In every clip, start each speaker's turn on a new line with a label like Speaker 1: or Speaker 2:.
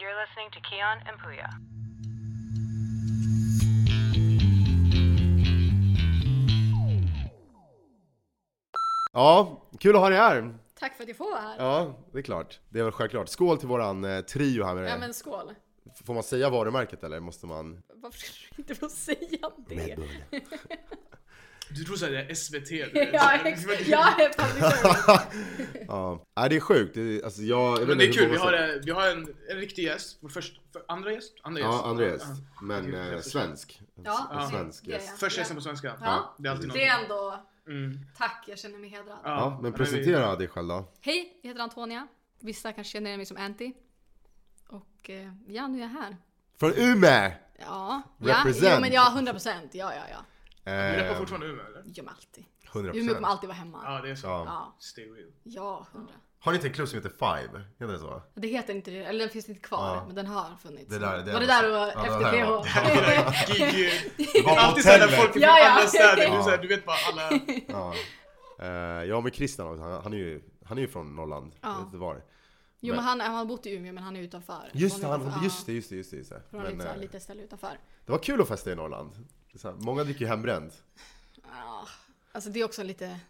Speaker 1: listening to Keon and Puya.
Speaker 2: Ja, kul att ha dig här!
Speaker 3: Tack för att jag får vara här. Ja,
Speaker 2: Ja, det är klart. Det är väl självklart. Skål till våran eh, trio här med dig.
Speaker 3: men skål.
Speaker 2: F- Får man säga varumärket eller måste man?
Speaker 3: Varför skulle du inte få säga det?
Speaker 4: Du tror såhär det är SVT du vet.
Speaker 3: Ja, exakt. Jag är public service.
Speaker 2: Ja. Nej, det är sjukt. Det är, alltså, jag, jag vet
Speaker 4: Men det är
Speaker 2: inte
Speaker 4: kul,
Speaker 2: hur
Speaker 4: vi
Speaker 2: många
Speaker 4: har,
Speaker 2: som-
Speaker 4: eh, vi har en, en riktig gäst. Vår första, för, andra gäst? Andra gäst.
Speaker 2: Ja, Andreas.
Speaker 4: Ja.
Speaker 2: Men eh, svensk.
Speaker 3: Ja,
Speaker 2: En
Speaker 4: Ja.
Speaker 2: svensk
Speaker 3: det är
Speaker 2: yes.
Speaker 3: jag.
Speaker 4: Första gästen på svenska.
Speaker 3: Ja.
Speaker 4: Det är alltid något.
Speaker 3: Det är ändå...
Speaker 4: Mm.
Speaker 3: Tack, jag känner mig hedrad.
Speaker 2: Ja, men
Speaker 4: vi-
Speaker 2: presentera dig själv då.
Speaker 3: Hej, jag heter Antonia. Vissa kanske känner mig som Anty. Och eh, ja, nu är jag här.
Speaker 2: Från Umeå!
Speaker 3: Ja, ja,
Speaker 2: Represent.
Speaker 3: jo, men ja, 100 procent. Ja, ja, ja.
Speaker 4: Du
Speaker 2: Eh,
Speaker 4: rappar fortfarande Umeå eller?
Speaker 3: Jo, men alltid.
Speaker 2: 100%.
Speaker 3: Umeå kommer alltid vara hemma.
Speaker 4: Ja, det är så.
Speaker 2: Ja.
Speaker 3: Ja,
Speaker 4: Stay real.
Speaker 3: ja, hundra.
Speaker 2: Har ni inte en klubb som heter Five? Heter det så?
Speaker 3: Det heter inte det, eller den finns inte kvar,
Speaker 2: Ja.
Speaker 3: men den har funnits.
Speaker 2: Det där- det
Speaker 3: var det
Speaker 2: var-
Speaker 3: där och
Speaker 2: ja, det var
Speaker 3: efter
Speaker 2: där jag
Speaker 3: PH?
Speaker 4: Gig.
Speaker 2: Det var på
Speaker 4: Alltid såhär när
Speaker 2: hotellet.
Speaker 4: folk från
Speaker 3: Ja, ja.
Speaker 4: andra städer.
Speaker 2: Ja.
Speaker 4: Du, såhär, du vet bara alla...
Speaker 2: Ja. Eh, Jag har med Christian också. han, han är ju han är ju från Norrland.
Speaker 3: Ja.
Speaker 2: Jag vet inte var.
Speaker 3: Jo, men han, han har bott i Umeå, men han är utanför.
Speaker 2: Just det,
Speaker 3: Han är
Speaker 2: han,
Speaker 3: utanför.
Speaker 2: just det, just det, just det. Just det.
Speaker 3: Från
Speaker 2: Men,
Speaker 3: lite, så här,
Speaker 2: eh,
Speaker 3: lite ställe utanför.
Speaker 2: det var kul att festa i Norrland. Det är så här, Många dricker ju hembränt.
Speaker 3: Ja, alltså det är också lite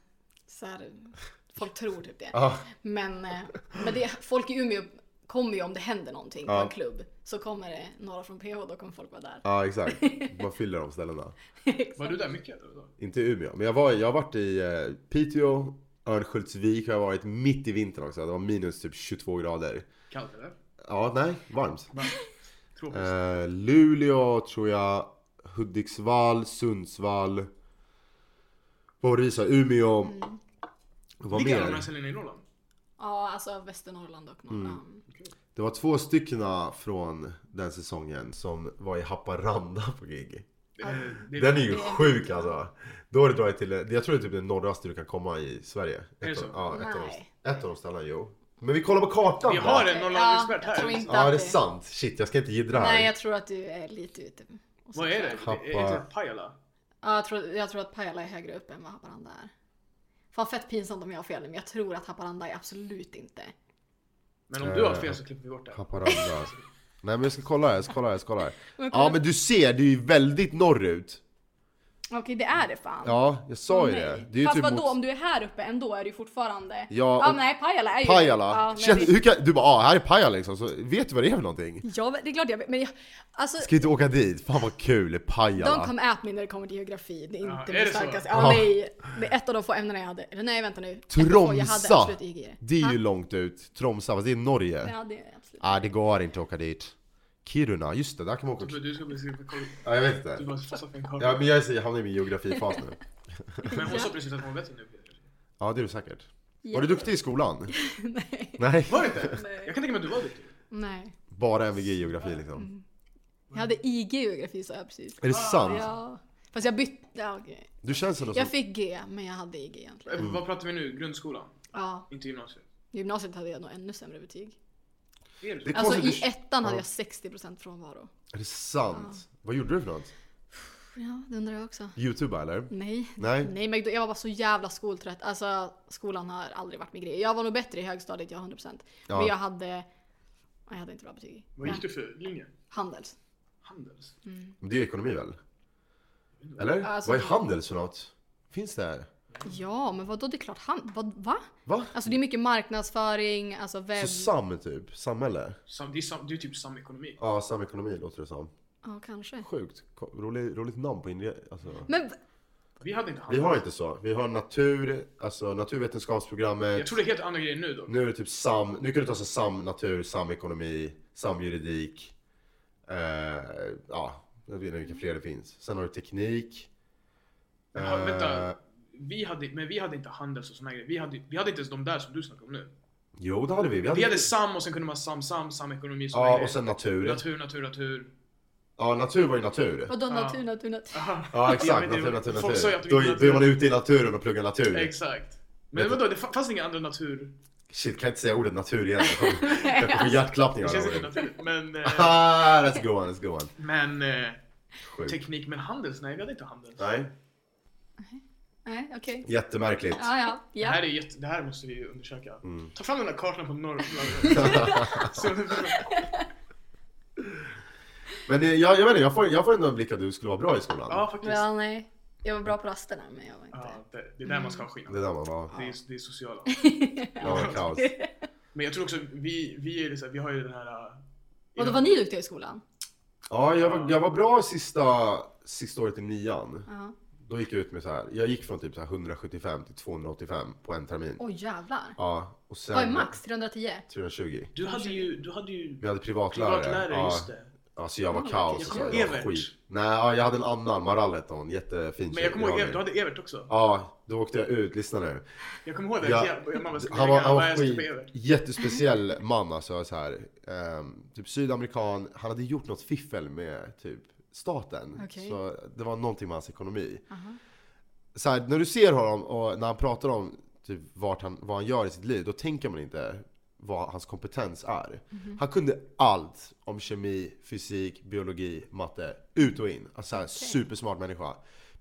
Speaker 3: så här, folk tror typ det.
Speaker 2: Ja.
Speaker 3: Men, eh, men det, folk i Umeå kommer ju om det händer någonting på
Speaker 2: Ja.
Speaker 3: en klubb. Så kommer det några från PH, då kommer folk vara där.
Speaker 2: Ja exakt, man fyller de ställena.
Speaker 4: Var du där mycket eller? vadå?
Speaker 2: Inte i Umeå, men jag, var, jag har varit i eh, Piteå, Örnsköldsvik har jag varit mitt i vintern också. Det var minus typ 22 grader.
Speaker 4: Kallt eller?
Speaker 2: Ja, nej, varmt.
Speaker 4: Tropiskt.
Speaker 2: Eh, Luleå tror jag, Hudiksvall, Sundsvall. Vad var det vi sa? Umeå. Vad
Speaker 4: Vilka är de här
Speaker 2: mer?
Speaker 4: ställena i Norrland?
Speaker 3: Ja, alltså Västernorrland och
Speaker 2: Mm.
Speaker 3: Norrland.
Speaker 2: Det var två stycken från den säsongen som var i Haparanda på gig.
Speaker 4: Det är- det är-
Speaker 2: Den är ju sjuk alltså. Då har du dragit till, jag tror det är typ det norraste du kan komma i Sverige. Ett
Speaker 4: Är det så?
Speaker 2: av- Ja, ett, av
Speaker 3: Nej.
Speaker 2: de, ett av de ställena, jo. Men vi kollar på kartan
Speaker 4: Vi
Speaker 2: då.
Speaker 4: har en Norrlandsexpert
Speaker 3: jag
Speaker 4: här.
Speaker 3: tror inte
Speaker 2: Ja, det är
Speaker 3: att
Speaker 2: sant. Shit, jag ska inte jiddra här.
Speaker 3: Nej, jag tror att du är lite ute. och
Speaker 4: Vad är
Speaker 3: cyklar.
Speaker 4: det? Det Är
Speaker 2: Pappa.
Speaker 4: det Pajala?
Speaker 3: Ja, jag tror, jag tror att Pajala är högre upp än vad Haparanda är. Fan fett pinsamt om jag har fel, men jag tror att Haparanda är absolut inte.
Speaker 4: Men om du
Speaker 2: Eh.
Speaker 4: har fel så klipper vi bort det.
Speaker 2: Haparanda. alltså. Nej men jag ska kolla här, jag ska kolla här, jag ska kolla här.
Speaker 3: Men kolla-
Speaker 2: Ja men du ser, det är ju väldigt norrut.
Speaker 3: Okej, det är det fan.
Speaker 2: Ja, jag sa ju
Speaker 3: Nej.
Speaker 2: det. det är ju typ
Speaker 3: Fast vadå,
Speaker 2: mot
Speaker 3: om du är här uppe ändå är du ju fortfarande...
Speaker 2: Ja,
Speaker 3: ja
Speaker 2: och-
Speaker 3: nej, Pajala är ju...
Speaker 2: Pajala.
Speaker 3: Ja, men
Speaker 2: Känn-
Speaker 3: jag,
Speaker 2: hur
Speaker 3: vet,
Speaker 2: kan, du bara ah, här är Pajala liksom, så vet du vad det är för någonting?
Speaker 3: Ja, det är klart jag vet, men jag... Alltså,
Speaker 2: Ska inte åka dit? Fan vad kul,
Speaker 3: don't
Speaker 2: Pajala.
Speaker 3: come at me när det kommer till geografi. Det är
Speaker 4: Ja,
Speaker 3: inte
Speaker 4: är
Speaker 3: min
Speaker 4: det så?
Speaker 3: starkaste...
Speaker 2: Ja.
Speaker 3: Ja, nej. Det är ett av de få ämnena jag hade. Eller nej, vänta nu. Ett av få jag hade
Speaker 2: Tromsa!
Speaker 3: absolut IG i.
Speaker 2: Det är
Speaker 3: Ha?
Speaker 2: ju långt ut. Tromsa, fast det är Norge.
Speaker 3: Ja, det är absolut.
Speaker 2: Ah, det går inte att åka dit. Kiruna, just det, där kan man åka.
Speaker 4: Du Alltså, du ska bli kolla.
Speaker 2: Ja, jag vet
Speaker 4: Du
Speaker 2: inte.
Speaker 4: bara fastnar för en karl.
Speaker 2: Ja, men jag är- jag hamnar i min geografifas nu.
Speaker 4: Men hon sa precis att hon var bättre nu.
Speaker 2: Ja, det är du säkert.
Speaker 3: Ja.
Speaker 2: Var du duktig i skolan?
Speaker 3: nej.
Speaker 2: Nej.
Speaker 4: Var det inte? Jag kan tänka mig att du var typ. duktig.
Speaker 3: nej.
Speaker 2: Bara MVG i geografi liksom.
Speaker 3: Jag hade IG i geografi sa jag precis.
Speaker 2: Är det sant?
Speaker 3: Mm. Ja. Fast jag bytte... Ja, okej.
Speaker 2: Du känns ändå som...
Speaker 3: Jag fick G, men jag hade IG egentligen.
Speaker 2: Mm.
Speaker 4: Eh, Vad pratar vi nu? Grundskolan?
Speaker 3: Ja,
Speaker 4: Inte gymnasiet?
Speaker 3: i gymnasiet hade jag nog ännu sämre betyg.
Speaker 4: Är det
Speaker 2: Det-
Speaker 4: så?
Speaker 3: Alltså
Speaker 2: Konstigt,
Speaker 3: i
Speaker 2: du-
Speaker 3: ettan hade
Speaker 2: Ja.
Speaker 3: jag 60% frånvaro.
Speaker 2: Är det sant? Vad gjorde du för något?
Speaker 3: Ja, det undrar jag också.
Speaker 2: Youtube eller?
Speaker 3: Nej.
Speaker 2: Nej.
Speaker 3: Nej, men jag var bara så jävla skoltrött. Alltså skolan har aldrig varit min grej. Jag var nog bättre i högstadiet, jag 100%.
Speaker 2: Ja.
Speaker 3: Men jag hade... nej, Jag hade inte bra betyg.
Speaker 4: Vad gick du för linje?
Speaker 3: Handels.
Speaker 4: Handels?
Speaker 2: Men Det är ekonomi väl? Eller?
Speaker 3: Alltså-
Speaker 2: Vad är handels för något? Finns det här?
Speaker 3: Ja, men vadå? Det är klart han... Vad, va?
Speaker 2: Va?
Speaker 3: Alltså det är mycket marknadsföring, alltså
Speaker 2: Så
Speaker 3: webb...
Speaker 2: sam typ? Samhälle?
Speaker 4: Sam, det, är sam, det är typ samekonomi.
Speaker 2: Ja, samekonomi låter det som.
Speaker 3: Ja, kanske.
Speaker 2: Sjukt. Ko- Rolig, roligt namn på inre... Alltså.
Speaker 3: Men v-
Speaker 4: Vi hade inte
Speaker 2: Vi
Speaker 4: handels.
Speaker 2: har inte så. Vi har natur, alltså naturvetenskapsprogrammet.
Speaker 4: Jag tror det är helt andra grejer nu dock.
Speaker 2: Nu är det typ sam, nu kan du ta så sam natur, samekonomi, samjuridik. Eh, ja, jag vet inte vilka fler det finns. Sen har du teknik.
Speaker 4: Men, ha-
Speaker 2: Eh,
Speaker 4: vänta. Vi hade, men vi hade inte handels och såna här grejer. Vi hade, vi hade inte ens de där som du snackar om nu.
Speaker 2: Jo, det hade vi. Vi hade,
Speaker 4: Vi hade sam och sen kunde man sam, sam, samekonomi såna
Speaker 2: ja,
Speaker 4: grejer.
Speaker 2: och sen natur.
Speaker 4: Natur, natur, natur.
Speaker 2: Ja, natur var ju natur.
Speaker 3: vadå
Speaker 4: Ja.
Speaker 3: natur, natur, natur?
Speaker 2: Ja, exakt.
Speaker 4: Ja, men det-
Speaker 2: natur, natur,
Speaker 4: folk sa ju att
Speaker 2: natur.
Speaker 4: vi
Speaker 2: Då,
Speaker 4: inte
Speaker 2: är- då
Speaker 4: natur-
Speaker 2: är man ute i naturen och pluggar natur.
Speaker 4: Exakt. Men vadå, det fa- fanns inga andra natur...
Speaker 2: Shit, kan jag inte säga ordet natur igen? Jag kommer- Jag får hjärtklappningar
Speaker 4: Det
Speaker 2: av
Speaker 4: känns inte
Speaker 2: ordet.
Speaker 4: naturligt. Men, eh,
Speaker 2: Ah, let's go on, let's go on.
Speaker 4: men eh,
Speaker 2: Sjukt.
Speaker 4: teknik, men handels? Nej, vi hade inte handels.
Speaker 2: Nej,
Speaker 3: Nej, okej.
Speaker 2: jättemärkligt. Mm.
Speaker 3: Ja, ja.
Speaker 4: Det,
Speaker 3: ja.
Speaker 4: här är jätte, det här måste vi ju undersöka. Ta fram den här kartan på Norrland. Så-
Speaker 2: Men det, jag, jag, vet inte, jag, får, jag får ändå en blick att du skulle vara bra i skolan.
Speaker 4: Ja, faktiskt.
Speaker 3: Ja, nej. Jag var bra på rasterna men jag var inte...
Speaker 4: Ja, det, det är där man ska ha skillnad.
Speaker 2: Det där man bara,
Speaker 4: Det är, det är sociala.
Speaker 2: ja, kaos.
Speaker 4: Men jag tror också, vi, vi, är liksom, vi har ju den här... äh,
Speaker 3: Och då var ni duktiga i skolan?
Speaker 2: Ja, jag var, jag var bra sista, sista året i nian.
Speaker 3: Ja.
Speaker 2: Då gick jag ut med så här, jag gick från typ så här 175 till 285 på en termin.
Speaker 3: Oj jävlar.
Speaker 2: Ja, och sen...
Speaker 3: Vad är max? 310?
Speaker 2: 320.
Speaker 4: Du hade ju, du hade ju
Speaker 2: Vi hade privatlärare.
Speaker 4: privatlärare,
Speaker 2: ja.
Speaker 4: just det.
Speaker 2: Alltså jag var
Speaker 3: Ja,
Speaker 2: kaos.
Speaker 3: jag
Speaker 2: Alltså, jag
Speaker 4: kommer-
Speaker 2: var
Speaker 4: Evert.
Speaker 2: skit. Nej, ja, jag hade en annan, Maralleton. Jättefin
Speaker 4: Men
Speaker 2: tjej.
Speaker 4: jag kommer ihåg,
Speaker 2: Ja,
Speaker 4: Evert, du hade Evert också.
Speaker 2: Ja, då åkte jag ut. Lyssna nu.
Speaker 4: Jag kommer ihåg det.
Speaker 2: Ja.
Speaker 4: Jag, jag, mamma skulle
Speaker 2: Han var,
Speaker 4: lägga
Speaker 2: han
Speaker 4: alla
Speaker 2: var
Speaker 4: hästar på
Speaker 2: skit,
Speaker 4: Evert.
Speaker 2: jättespeciell man alltså. Så här, ehm, typ sydamerikan. Han hade gjort något fiffel med typ staten.
Speaker 3: Okej.
Speaker 2: Så det var någonting med hans ekonomi.
Speaker 3: Aha.
Speaker 2: Så här, när du ser honom och när han pratar om typ vart han, vad han gör i sitt liv, då tänker man inte vad hans kompetens är. Han kunde allt om kemi, fysik, biologi, matte, ut och in. Alltså så här, supersmart människa.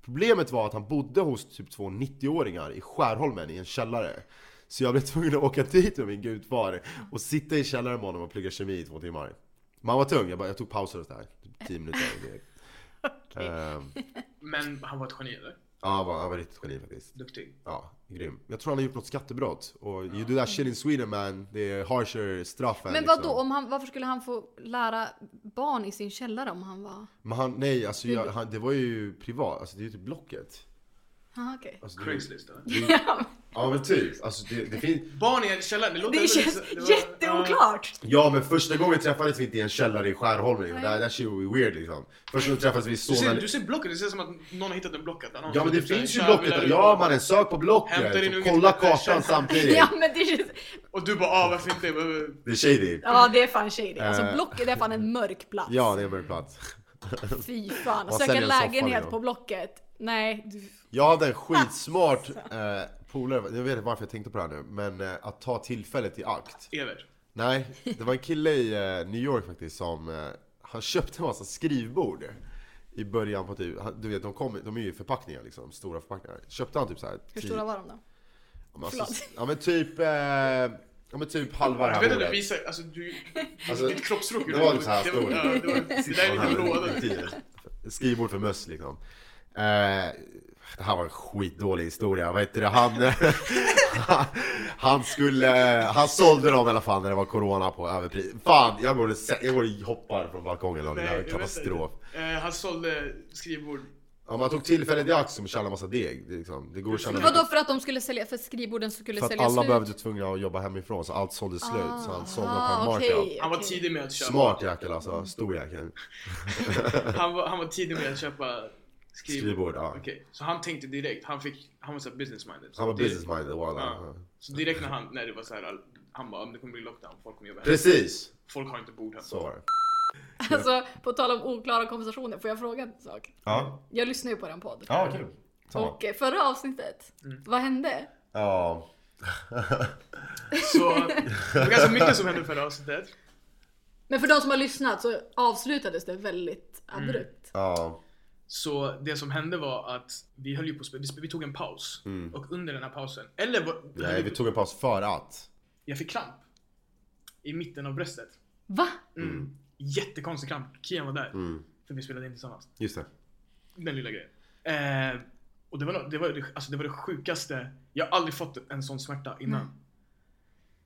Speaker 2: Problemet var att han bodde hos typ två 90-åringar i Skärholmen i en källare. Så jag blev tvungen att åka dit med min gudfar och sitta i källaren med honom och plugga kemi i två timmar. Man var tung, jag, bara, jag tog pauser och sådär, typ 10 minuter. Ehm,
Speaker 4: Men han var ett geni eller?
Speaker 2: ja, han var, han var riktigt geni faktiskt.
Speaker 4: Duktig.
Speaker 2: Ja, grym. Jag tror han har gjort något skattebrott. Och you do that shit in Sweden man, det är harsher straff än
Speaker 3: Men vad
Speaker 2: liksom.
Speaker 3: då? Om han, varför skulle han få lära barn i sin källare om han var...
Speaker 2: Men han, nej alltså jag, han, det var ju privat, alltså det är ju typ Blocket.
Speaker 3: Aha, okej.
Speaker 2: Alltså, det-
Speaker 4: Craigslist eller?
Speaker 3: Ja,
Speaker 2: Ja men typ, alltså det, det finns...
Speaker 4: Barn i källaren, det låter
Speaker 3: det
Speaker 4: ändå
Speaker 3: känns
Speaker 4: lite- det var-
Speaker 3: jätteoklart!
Speaker 2: Ja men första gången träffades vi inte i en källare i Skärholmen, och det här- det här shit var weird liksom. Första gången träffades vi i
Speaker 4: Du ser,
Speaker 2: Solna...
Speaker 4: du ser blocket, det ser som att någon har hittat en blocket annons.
Speaker 2: Ja men det
Speaker 4: Typ så här,
Speaker 2: finns ju
Speaker 4: "Tja, vill
Speaker 2: Blocket,
Speaker 4: du-
Speaker 2: ja mannen sök på
Speaker 4: Hämta din
Speaker 2: Blocket och
Speaker 4: unge
Speaker 2: kolla
Speaker 4: till-
Speaker 2: kartan samtidigt.
Speaker 3: Ja men det känns...
Speaker 4: Och du bara ah varför inte? Jag bara,
Speaker 2: Det är shady.
Speaker 3: Ja det är fan shady. Alltså
Speaker 2: Eh.
Speaker 3: Blocket är fan en mörk plats.
Speaker 2: Ja det är en mörk plats.
Speaker 3: Fy fan.
Speaker 2: Man
Speaker 3: Att söka
Speaker 2: säljer
Speaker 3: en
Speaker 2: en soffa
Speaker 3: lägenhet
Speaker 2: nu.
Speaker 3: på Blocket. Nej. Du...
Speaker 2: Jag hade en skitsmart eh, polare, jag vet inte varför jag tänkte på det här nu, men eh, att ta tillfället i akt.
Speaker 4: Evert.
Speaker 2: Nej, det var en kille i eh, New York faktiskt som, eh, han köpte en massa skrivbord i början på typ, han- du vet de, kom, de är ju i förpackningar liksom, stora förpackningar. Köpte han typ såhär...
Speaker 3: Hur stora var de då?
Speaker 2: de? Alltså,
Speaker 3: Förlåt.
Speaker 2: ja men typ, eh, ja men typ halva det
Speaker 4: Du
Speaker 2: här
Speaker 4: vet att du
Speaker 2: bordet.
Speaker 4: visar, alltså du,
Speaker 2: Alltså,
Speaker 4: ditt kroppsspråk.
Speaker 2: det var så här
Speaker 4: det var-
Speaker 2: stor.
Speaker 4: ja, det var- det där är
Speaker 2: Sån här
Speaker 4: lite låda.
Speaker 2: tio. Skrivbord för möss liksom. Eh, det här var en skitdålig historia. Vad heter det? Han, han skulle... Han sålde dem i alla fall när det var corona på överpris. Fan, jag borde, sä- jag borde hoppa från balkongen. och Det
Speaker 4: Nej,
Speaker 2: här
Speaker 4: jag
Speaker 2: var
Speaker 4: vet
Speaker 2: katastrof.
Speaker 4: inte. Eh, Han sålde skrivbord.
Speaker 2: Om man tog tillfället i akt som tjäna massa deg. Det, är liksom, det går att tjäna
Speaker 3: Men vadå för att de skulle sälja, för skrivborden skulle
Speaker 2: För att
Speaker 3: sälja
Speaker 2: alla
Speaker 3: slut?
Speaker 2: behövde tvungna att jobba hemifrån så allt såldes slut. så han sålde på en
Speaker 3: Ah,
Speaker 2: markup.
Speaker 3: okej,
Speaker 4: Han var
Speaker 3: okej.
Speaker 4: tidig med att köpa.
Speaker 2: Smart jäkel alltså. Stor jäkel.
Speaker 4: Han var, han var tidig med att köpa skrivbord.
Speaker 2: Skrivbord, ja.
Speaker 4: Okej, Så han tänkte direkt, han, fick, han var såhär business minded. Så
Speaker 2: Han var
Speaker 4: direkt-
Speaker 2: business minded.
Speaker 4: Ja.
Speaker 2: walla.
Speaker 4: Så direkt när han, när det var såhär, han bara om det kommer bli lockdown, folk kommer jobba hemma.
Speaker 2: Precis!
Speaker 4: Folk har inte bord hemma.
Speaker 2: Så var det.
Speaker 3: Alltså på tal om oklara konversationer, får jag fråga en sak?
Speaker 2: Ja.
Speaker 3: Jag lyssnar ju på den podd.
Speaker 2: Ja, Mm. kul. Så.
Speaker 3: Och eh, förra avsnittet, vad hände?
Speaker 2: Ja.
Speaker 4: Så det var ganska mycket som hände förra avsnittet.
Speaker 3: Men för de som har lyssnat så avslutades det väldigt
Speaker 4: Mm.
Speaker 3: abrupt.
Speaker 2: Ja.
Speaker 4: Så det som hände var att vi höll ju på att spela- vi, vi tog en paus.
Speaker 2: Mm.
Speaker 4: Och under den här pausen, eller vad-
Speaker 2: Nej, vi tog en paus för att.
Speaker 4: jag fick kramp. I mitten av bröstet.
Speaker 3: Va?
Speaker 4: Mm. Jättekonstig kramp. Kian var där.
Speaker 2: Mm.
Speaker 4: För vi spelade in tillsammans.
Speaker 2: Just det.
Speaker 4: Den lilla grejen. Eh, och det var, nå- det, var, det- alltså det var det sjukaste. Jag har aldrig fått en sån smärta innan.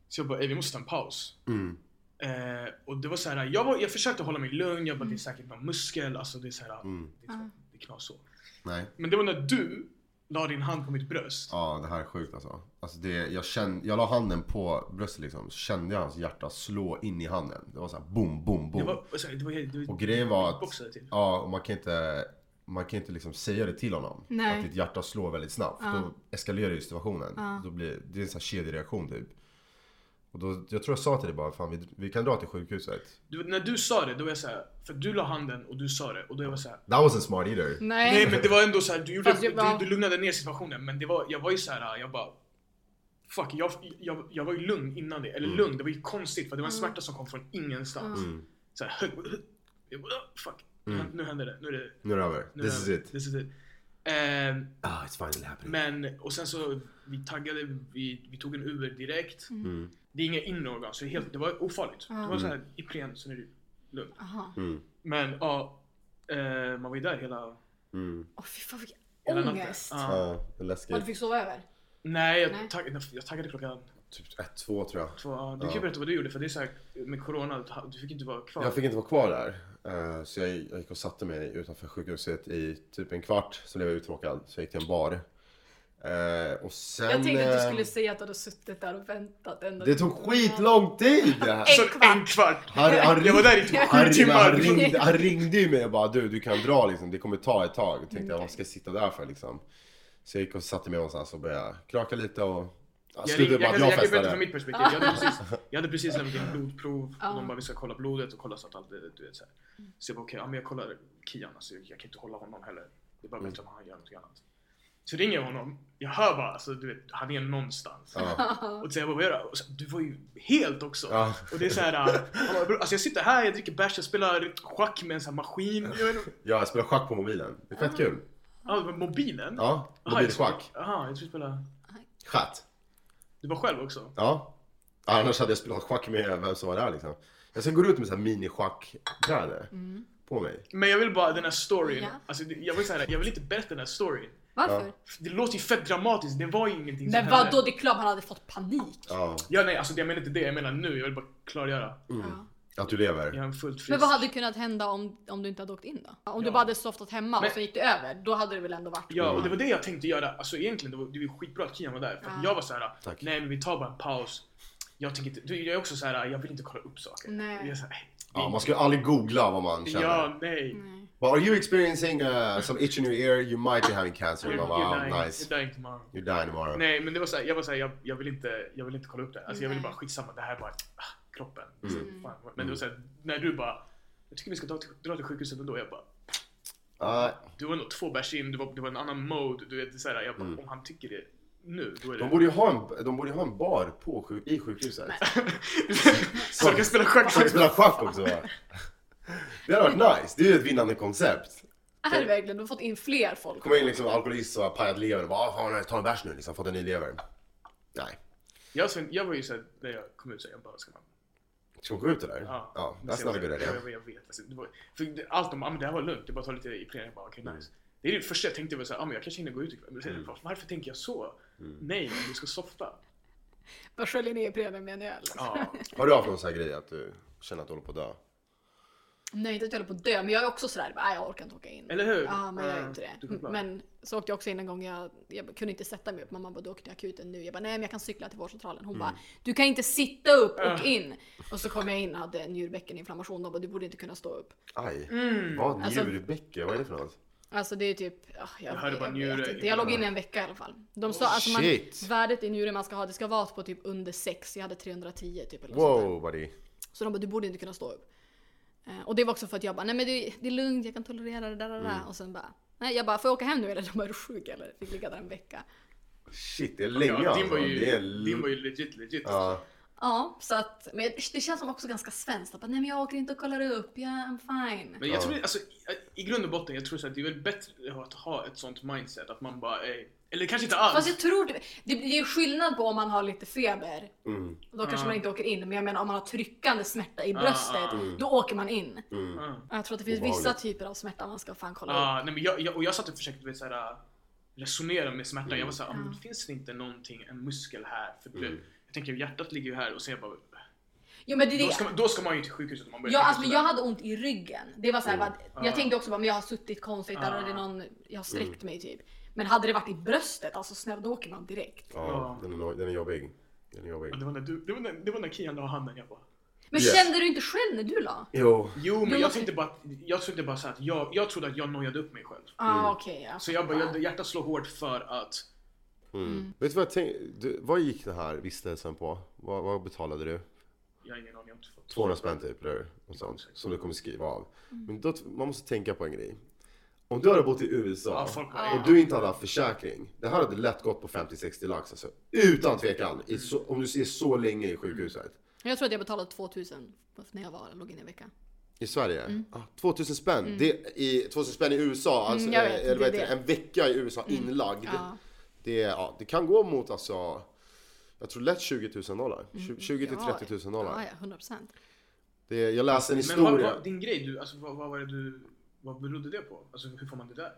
Speaker 4: Så jag bara, "Ey, vi måste ta en paus.
Speaker 2: Mm.
Speaker 4: Eh, och det var så här, jag, var, jag försökte hålla mig lugn. Jag bara, det är säkert någon muskel. Alltså det är så här,
Speaker 2: Mm.
Speaker 4: det, är så, det är knas så.
Speaker 2: Nej.
Speaker 4: Men det var när du la din hand på mitt bröst.
Speaker 2: Ja, det här är sjukt alltså. alltså det, jag, kände, jag la handen på bröstet liksom, så kände jag hans hjärta slå in i handen. Det var så här boom, boom,
Speaker 4: Det
Speaker 2: boom.
Speaker 4: var, så här, det var, det var, typ.
Speaker 2: Och grejen var att-
Speaker 4: boxade till.
Speaker 2: Ja, och man kan inte, man kan inte liksom säga det till honom.
Speaker 3: Nej.
Speaker 2: Att ditt hjärta slår väldigt snabbt.
Speaker 3: Ja.
Speaker 2: Då eskalerar ju situationen.
Speaker 3: Ja.
Speaker 2: Då blir, det är en sån här kedjereaktion typ. Och då, jag tror jag sa till dig bara, fan vi, vi kan dra till sjukhuset.
Speaker 4: Du, när du sa det, då var jag såhär, för du la handen och du sa det och då var jag såhär
Speaker 2: That wasn't smart either.
Speaker 3: Nej.
Speaker 4: Nej men det var ändå såhär, du, gjorde,
Speaker 3: Fast jag bara-
Speaker 4: du, du lugnade ner situationen men det var, jag var ju såhär, jag bara Fuck, jag, jag, jag var ju lugn innan det, eller lugn, det var ju konstigt för det var en smärta som kom från ingenstans
Speaker 2: Mm.
Speaker 4: Såhär, hög, hög. jag bara, "Ah, fuck,
Speaker 2: Mm.
Speaker 4: nu hände det, nu är det
Speaker 2: Nu är det över.
Speaker 4: nu är
Speaker 2: This is
Speaker 4: det,
Speaker 2: it.
Speaker 4: This is it. Ehm,
Speaker 2: Ah, it's finally happening.
Speaker 4: men, och sen så, vi taggade, vi, vi tog en Uber direkt
Speaker 2: Mm.
Speaker 4: alltså, Det är inga inre organ, så det, är helt, det var ofarligt. Det
Speaker 3: Ja.
Speaker 4: var såhär, Ipren, sen är det lugnt
Speaker 3: Aha.
Speaker 2: Mm.
Speaker 4: Men ja, eh, man var ju där hela,
Speaker 2: Mm.
Speaker 3: Åh fy fan vilken
Speaker 4: hela natten.
Speaker 3: ångest!
Speaker 4: Ja.
Speaker 2: Ja, det är
Speaker 3: Ja, du
Speaker 2: läskigt.
Speaker 3: fick sova över?
Speaker 4: Nej,
Speaker 3: Nej.
Speaker 4: jag, tagg, jag taggade klockan
Speaker 2: Typ 1-2 tror jag.
Speaker 4: två. Ja, Du kan
Speaker 2: Ja.
Speaker 4: ju berätta vad du gjorde för det är så här, med corona, du- du fick inte vara kvar.
Speaker 2: Jag fick inte vara kvar där. eh, Så jag, jag gick och satte mig utanför sjukhuset i typ en kvart. Så blev jag uttråkad. Så jag gick till en bar. Eh, Och sen...
Speaker 3: jag tänkte att du
Speaker 2: eh,
Speaker 3: skulle säga att du hade suttit där och väntat ända
Speaker 2: Det tog skitlång tid!
Speaker 4: Så
Speaker 3: En kvart.
Speaker 4: En kvart!
Speaker 2: Han, han,
Speaker 4: Jag var där i typ
Speaker 2: han,
Speaker 4: sju
Speaker 2: ringde, han,
Speaker 4: timmar.
Speaker 2: ringde, han ringde ju mig och bara du, du kan dra liksom. Det kommer ta ett tag. Jag tänkte jag, vad ska jag sitta där för liksom? Så jag gick och satte mig någonstans och började kraka lite och... Ja,
Speaker 4: Jag, ringde,
Speaker 2: slutade
Speaker 4: jag,
Speaker 2: med att
Speaker 4: kan-
Speaker 2: jag
Speaker 4: jag kan berätta från
Speaker 2: festade.
Speaker 4: mitt perspektiv. Jag hade precis, jag hade precis lämnat in blodprov
Speaker 3: Ja.
Speaker 4: och de bara vi ska kolla blodet och kolla så att allt är- du vet så här. Så jag bara okej, ja, men jag kollar Kian alltså, jag kan inte hålla honom heller. Det är
Speaker 2: Mm.
Speaker 4: bara bättre om han gör någonting annat. Så ringer jag honom, jag hör bara alltså du vet, han är någonstans.
Speaker 2: Ja.
Speaker 4: Och så jag bara vad gör du? Och så, Du var ju helt också.
Speaker 2: Ja.
Speaker 4: Och det är såhär, alltså jag sitter här, jag dricker bärs, jag spelar schack med en sån här maskin. Jag vet, inte-
Speaker 2: Ja, jag spelar schack på mobilen. Det är
Speaker 4: Ah.
Speaker 2: fett kul.
Speaker 4: ja, med mobilen?
Speaker 2: Ja,
Speaker 4: Aha, jag tror-
Speaker 2: mobilschack.
Speaker 4: Jaha, jag tror du spelade...
Speaker 2: Chatt.
Speaker 4: Du var själv också?
Speaker 2: Ja. Annars hade jag spelat schack med vem som var där liksom. Jag sen går ut med så här mini-schackbrädor
Speaker 4: Mm.
Speaker 2: på mig.
Speaker 4: Men jag vill bara den här storyn,
Speaker 3: Ja.
Speaker 4: alltså, det- jag, vill så här, jag vill inte berätta den här storyn.
Speaker 3: Varför?
Speaker 2: Ja.
Speaker 4: Det låter ju fett dramatiskt, det var ju ingenting
Speaker 3: Men
Speaker 4: som
Speaker 3: vadå? Det är klart man hade fått panik.
Speaker 2: Ja,
Speaker 4: Ja nej, alltså jag menar inte det, jag menar nu, jag vill bara klargöra.
Speaker 3: Ja.
Speaker 2: Mm. att du lever.
Speaker 4: Jag är en fullt frisk.
Speaker 3: Men vad hade kunnat hända om, om du inte hade åkt in då? Om du
Speaker 4: Ja.
Speaker 3: bara hade softat hemma
Speaker 4: Men-
Speaker 3: och sen gick det över, då hade det väl ändå varit...
Speaker 4: Ja, och
Speaker 2: Mm.
Speaker 4: det var det jag tänkte göra. Alltså egentligen, det var, det var skitbra att Kian var där. För att
Speaker 3: Ja.
Speaker 4: jag var så här,
Speaker 2: Tack.
Speaker 4: nej men vi tar bara en paus. Jag tänker inte, du, jag är också så här, jag vill inte kolla upp saker.
Speaker 3: Nej.
Speaker 4: Jag är så här,
Speaker 2: Ja, man ska ju aldrig googla vad man känner.
Speaker 4: ja, nej.
Speaker 3: Nej.
Speaker 2: But are you experiencing uh, some itch in your ear? You might be having cancer. Man bara,
Speaker 4: You're dying,
Speaker 2: oh, nice.
Speaker 4: you're dying tomorrow.
Speaker 2: You're dying tomorrow.
Speaker 4: Nej men det var så här, jag var så här, jag, jag, vill inte, jag vill inte kolla upp det. Alltså jag vill
Speaker 3: Nej.
Speaker 4: bara skitsamma, det här är bara ah, kroppen.
Speaker 2: Mm.
Speaker 4: Så, fan, vad- men det var så här, när du bara, jag tycker vi ska ta till, dra till sjukhuset ändå. Jag bara,
Speaker 2: Uh,
Speaker 4: du var ändå två bärs in, du var, du var en annan mode. Du vet, det är så här, jag bara, om han tycker det nu, då är
Speaker 2: Mm. de
Speaker 4: det...
Speaker 2: borde ju ha en, de borde ju ha en bar på sjuk, i sjukhuset.
Speaker 4: så jag kan spela schack.
Speaker 2: Folk spelar schack också. Det hade varit nice. Det är ju ett vinnande koncept.
Speaker 3: Är det verkligen? Du har fått in fler folk.
Speaker 2: Kommer in liksom alkoholist och har pajat lever och bara, ah, fan, ta en bärs nu liksom, fått en ny lever. Nej.
Speaker 4: Jag, sen, jag var ju såhär, när jag kom ut såhär, jag bara, ska man...
Speaker 2: Ska man gå ut eller?
Speaker 4: Ja,
Speaker 2: ja
Speaker 4: Men
Speaker 2: that's
Speaker 4: sen
Speaker 2: not a
Speaker 4: jag,
Speaker 2: good idea.
Speaker 4: jag, jag, jag vet. Alltså, det var, för det, allt de, ah, men det här var lugnt, det är bara att ta lite i Jag bara, okej
Speaker 2: Mm.
Speaker 4: nice. Det är det första jag tänkte var såhär, ah, men jag kanske hinner gå ut ikväll. Men sen, Varför tänker jag så?
Speaker 2: Mm.
Speaker 4: Nej, men du ska softa.
Speaker 3: Bara sköljer ner Preben med en öl.
Speaker 4: Ja.
Speaker 2: Har du haft någon sån här grej att du känner att du håller på att dö?
Speaker 3: Nej, inte att jag höll på att dö, men jag är också sådär, bara, "Nej, jag orkar inte åka in.
Speaker 4: Eller hur?
Speaker 3: Ja, men jag är
Speaker 4: Ja,
Speaker 3: inte
Speaker 4: du
Speaker 3: det.
Speaker 4: kan klara.
Speaker 3: Men så åkte jag också in en gång, jag, jag kunde inte sätta mig upp. Mamma bara, du åker till akuten nu. Jag bara, nej men jag kan cykla till vårdcentralen.
Speaker 4: Mm.
Speaker 3: Hon bara, du kan inte sitta upp och
Speaker 4: Ja.
Speaker 3: in. Och så kom jag in och hade en njurbäckeninflammation. De bara, du borde inte kunna stå upp.
Speaker 2: Aj. Vad?
Speaker 3: Alltså-
Speaker 2: Njurbäcke? Vad är det för något?
Speaker 3: Alltså det är typ, ja, jag,
Speaker 4: Jag hörde bara
Speaker 3: jag, vet
Speaker 4: njure-
Speaker 3: inte. jag låg in i en vecka i alla fall. De sa, alltså man,
Speaker 2: Oh, shit.
Speaker 3: värdet i njure man ska ha, det ska vara på typ under 6. Jag hade 310 typ. Eller något sånt där.
Speaker 2: Wow buddy.
Speaker 3: Så de bara, du borde inte kunna stå upp. Eh, Och det var också för att jag bara, nej men det, det är lugnt, jag kan tolerera det där, där, där.
Speaker 4: Mm.
Speaker 3: Och sen bara, nej jag bara, får jag åka hem nu eller? De bara, är du sjuk eller? Fick ligga där en vecka.
Speaker 2: Shit, det är länge
Speaker 4: Ja, din
Speaker 2: alltså.
Speaker 4: var ju,
Speaker 2: Det är...
Speaker 4: din var ju legit, legit.
Speaker 2: Ja.
Speaker 3: Ja, så att, men det känns som också ganska svenskt. Att bara, nej men jag åker inte och kollar upp, yeah, I'm fine.
Speaker 4: Men jag
Speaker 2: Ja.
Speaker 4: tror, alltså, i- i grund och botten, jag tror så att det är väl bättre att ha ett sånt mindset att man bara, ey, eller kanske inte alls.
Speaker 3: Fast jag tror, det, det det är ju skillnad på om man har lite feber,
Speaker 2: Mm.
Speaker 3: då kanske
Speaker 4: Ja.
Speaker 3: man inte åker in. Men jag menar om man har tryckande smärta i
Speaker 4: Ja,
Speaker 3: bröstet,
Speaker 4: ja,
Speaker 3: då åker man in.
Speaker 2: Mm.
Speaker 4: Ja.
Speaker 3: Ja, Jag tror att det finns
Speaker 2: Obehagligt.
Speaker 3: vissa typer av smärta man ska fan kolla upp.
Speaker 4: Ja, nej, men jag, jag, och jag satt och försökte du vet, så här, äh, resonera med smärtan.
Speaker 2: Mm.
Speaker 4: Jag var såhär, ah, men
Speaker 3: Ja.
Speaker 4: finns det inte någonting, en muskel här? För det, jag tänker hjärtat ligger ju här och sen jag bara,
Speaker 3: Jo men det är
Speaker 4: då
Speaker 3: det.
Speaker 4: ska, man, då ska man ju till sjukhuset om man börjar
Speaker 3: Ja,
Speaker 4: tänka
Speaker 3: alltså, men
Speaker 4: sådär.
Speaker 3: jag hade ont i ryggen. Det var så här, bara, jag
Speaker 4: Ah.
Speaker 3: tänkte också bara, men jag har suttit konstigt där och det är
Speaker 4: Ah.
Speaker 3: någon, jag har sträckt
Speaker 4: Mm.
Speaker 3: mig typ. Men hade det varit i bröstet, alltså snälla då åker man direkt.
Speaker 2: Ja, den är, no- den är jobbig. Den är jobbig.
Speaker 4: Och det, var när du, det, var när, det var när Kian la handen, jag bara.
Speaker 3: Men
Speaker 2: Yes.
Speaker 3: kände du inte själv när du la?
Speaker 2: Jo.
Speaker 4: Jo, men jag
Speaker 3: måste-
Speaker 4: tänkte bara, att- jag trodde bara så här att jag, jag trodde att jag nojade upp mig själv.
Speaker 3: Ah, okej, ja.
Speaker 4: Mm. Så jag bara, jag, hjärtat slår hårt för att
Speaker 2: Mm. Vet du vad jag tänk- du, Vad gick den här vistelsen på? Vad, vad betalade du?
Speaker 4: jag har ingen aning. Jag har inte fått.
Speaker 2: 200 spänn typ eller något sånt. Som du kommer skriva av.
Speaker 3: Mm.
Speaker 2: Men då, man måste tänka på en grej. Om du hade bott i USA
Speaker 4: Ja, folk bara,
Speaker 2: och du inte hade haft försäkring. Det här hade lätt gått på 50-60 lax alltså. Utan tvekan. I så,
Speaker 3: Mm.
Speaker 2: om du ser så länge i sjukhuset.
Speaker 3: Jag tror att jag betalade 2000 när jag var, låg in i en vecka.
Speaker 2: I Sverige? Ah, 2000 spänn. Det, i, 2000 spänn i USA, alltså,
Speaker 3: Mm. Mm, jag vet,
Speaker 2: eh,
Speaker 3: det är
Speaker 2: eller vad heter det,
Speaker 3: det. Mm.
Speaker 2: en vecka i USA inlagd.
Speaker 3: Ja.
Speaker 2: Det, är- ja, det kan gå mot
Speaker 3: Mm.
Speaker 2: alltså, jag tror lätt 20 000 dollar. 20 till 30 000 dollar.
Speaker 3: Ja, ja, 100 procent.
Speaker 2: Det, jag läste en
Speaker 4: Men vad,
Speaker 2: historia.
Speaker 4: vad, din grej, du, alltså, vad, vad var det du, vad berodde det på? Alltså hur får man det där?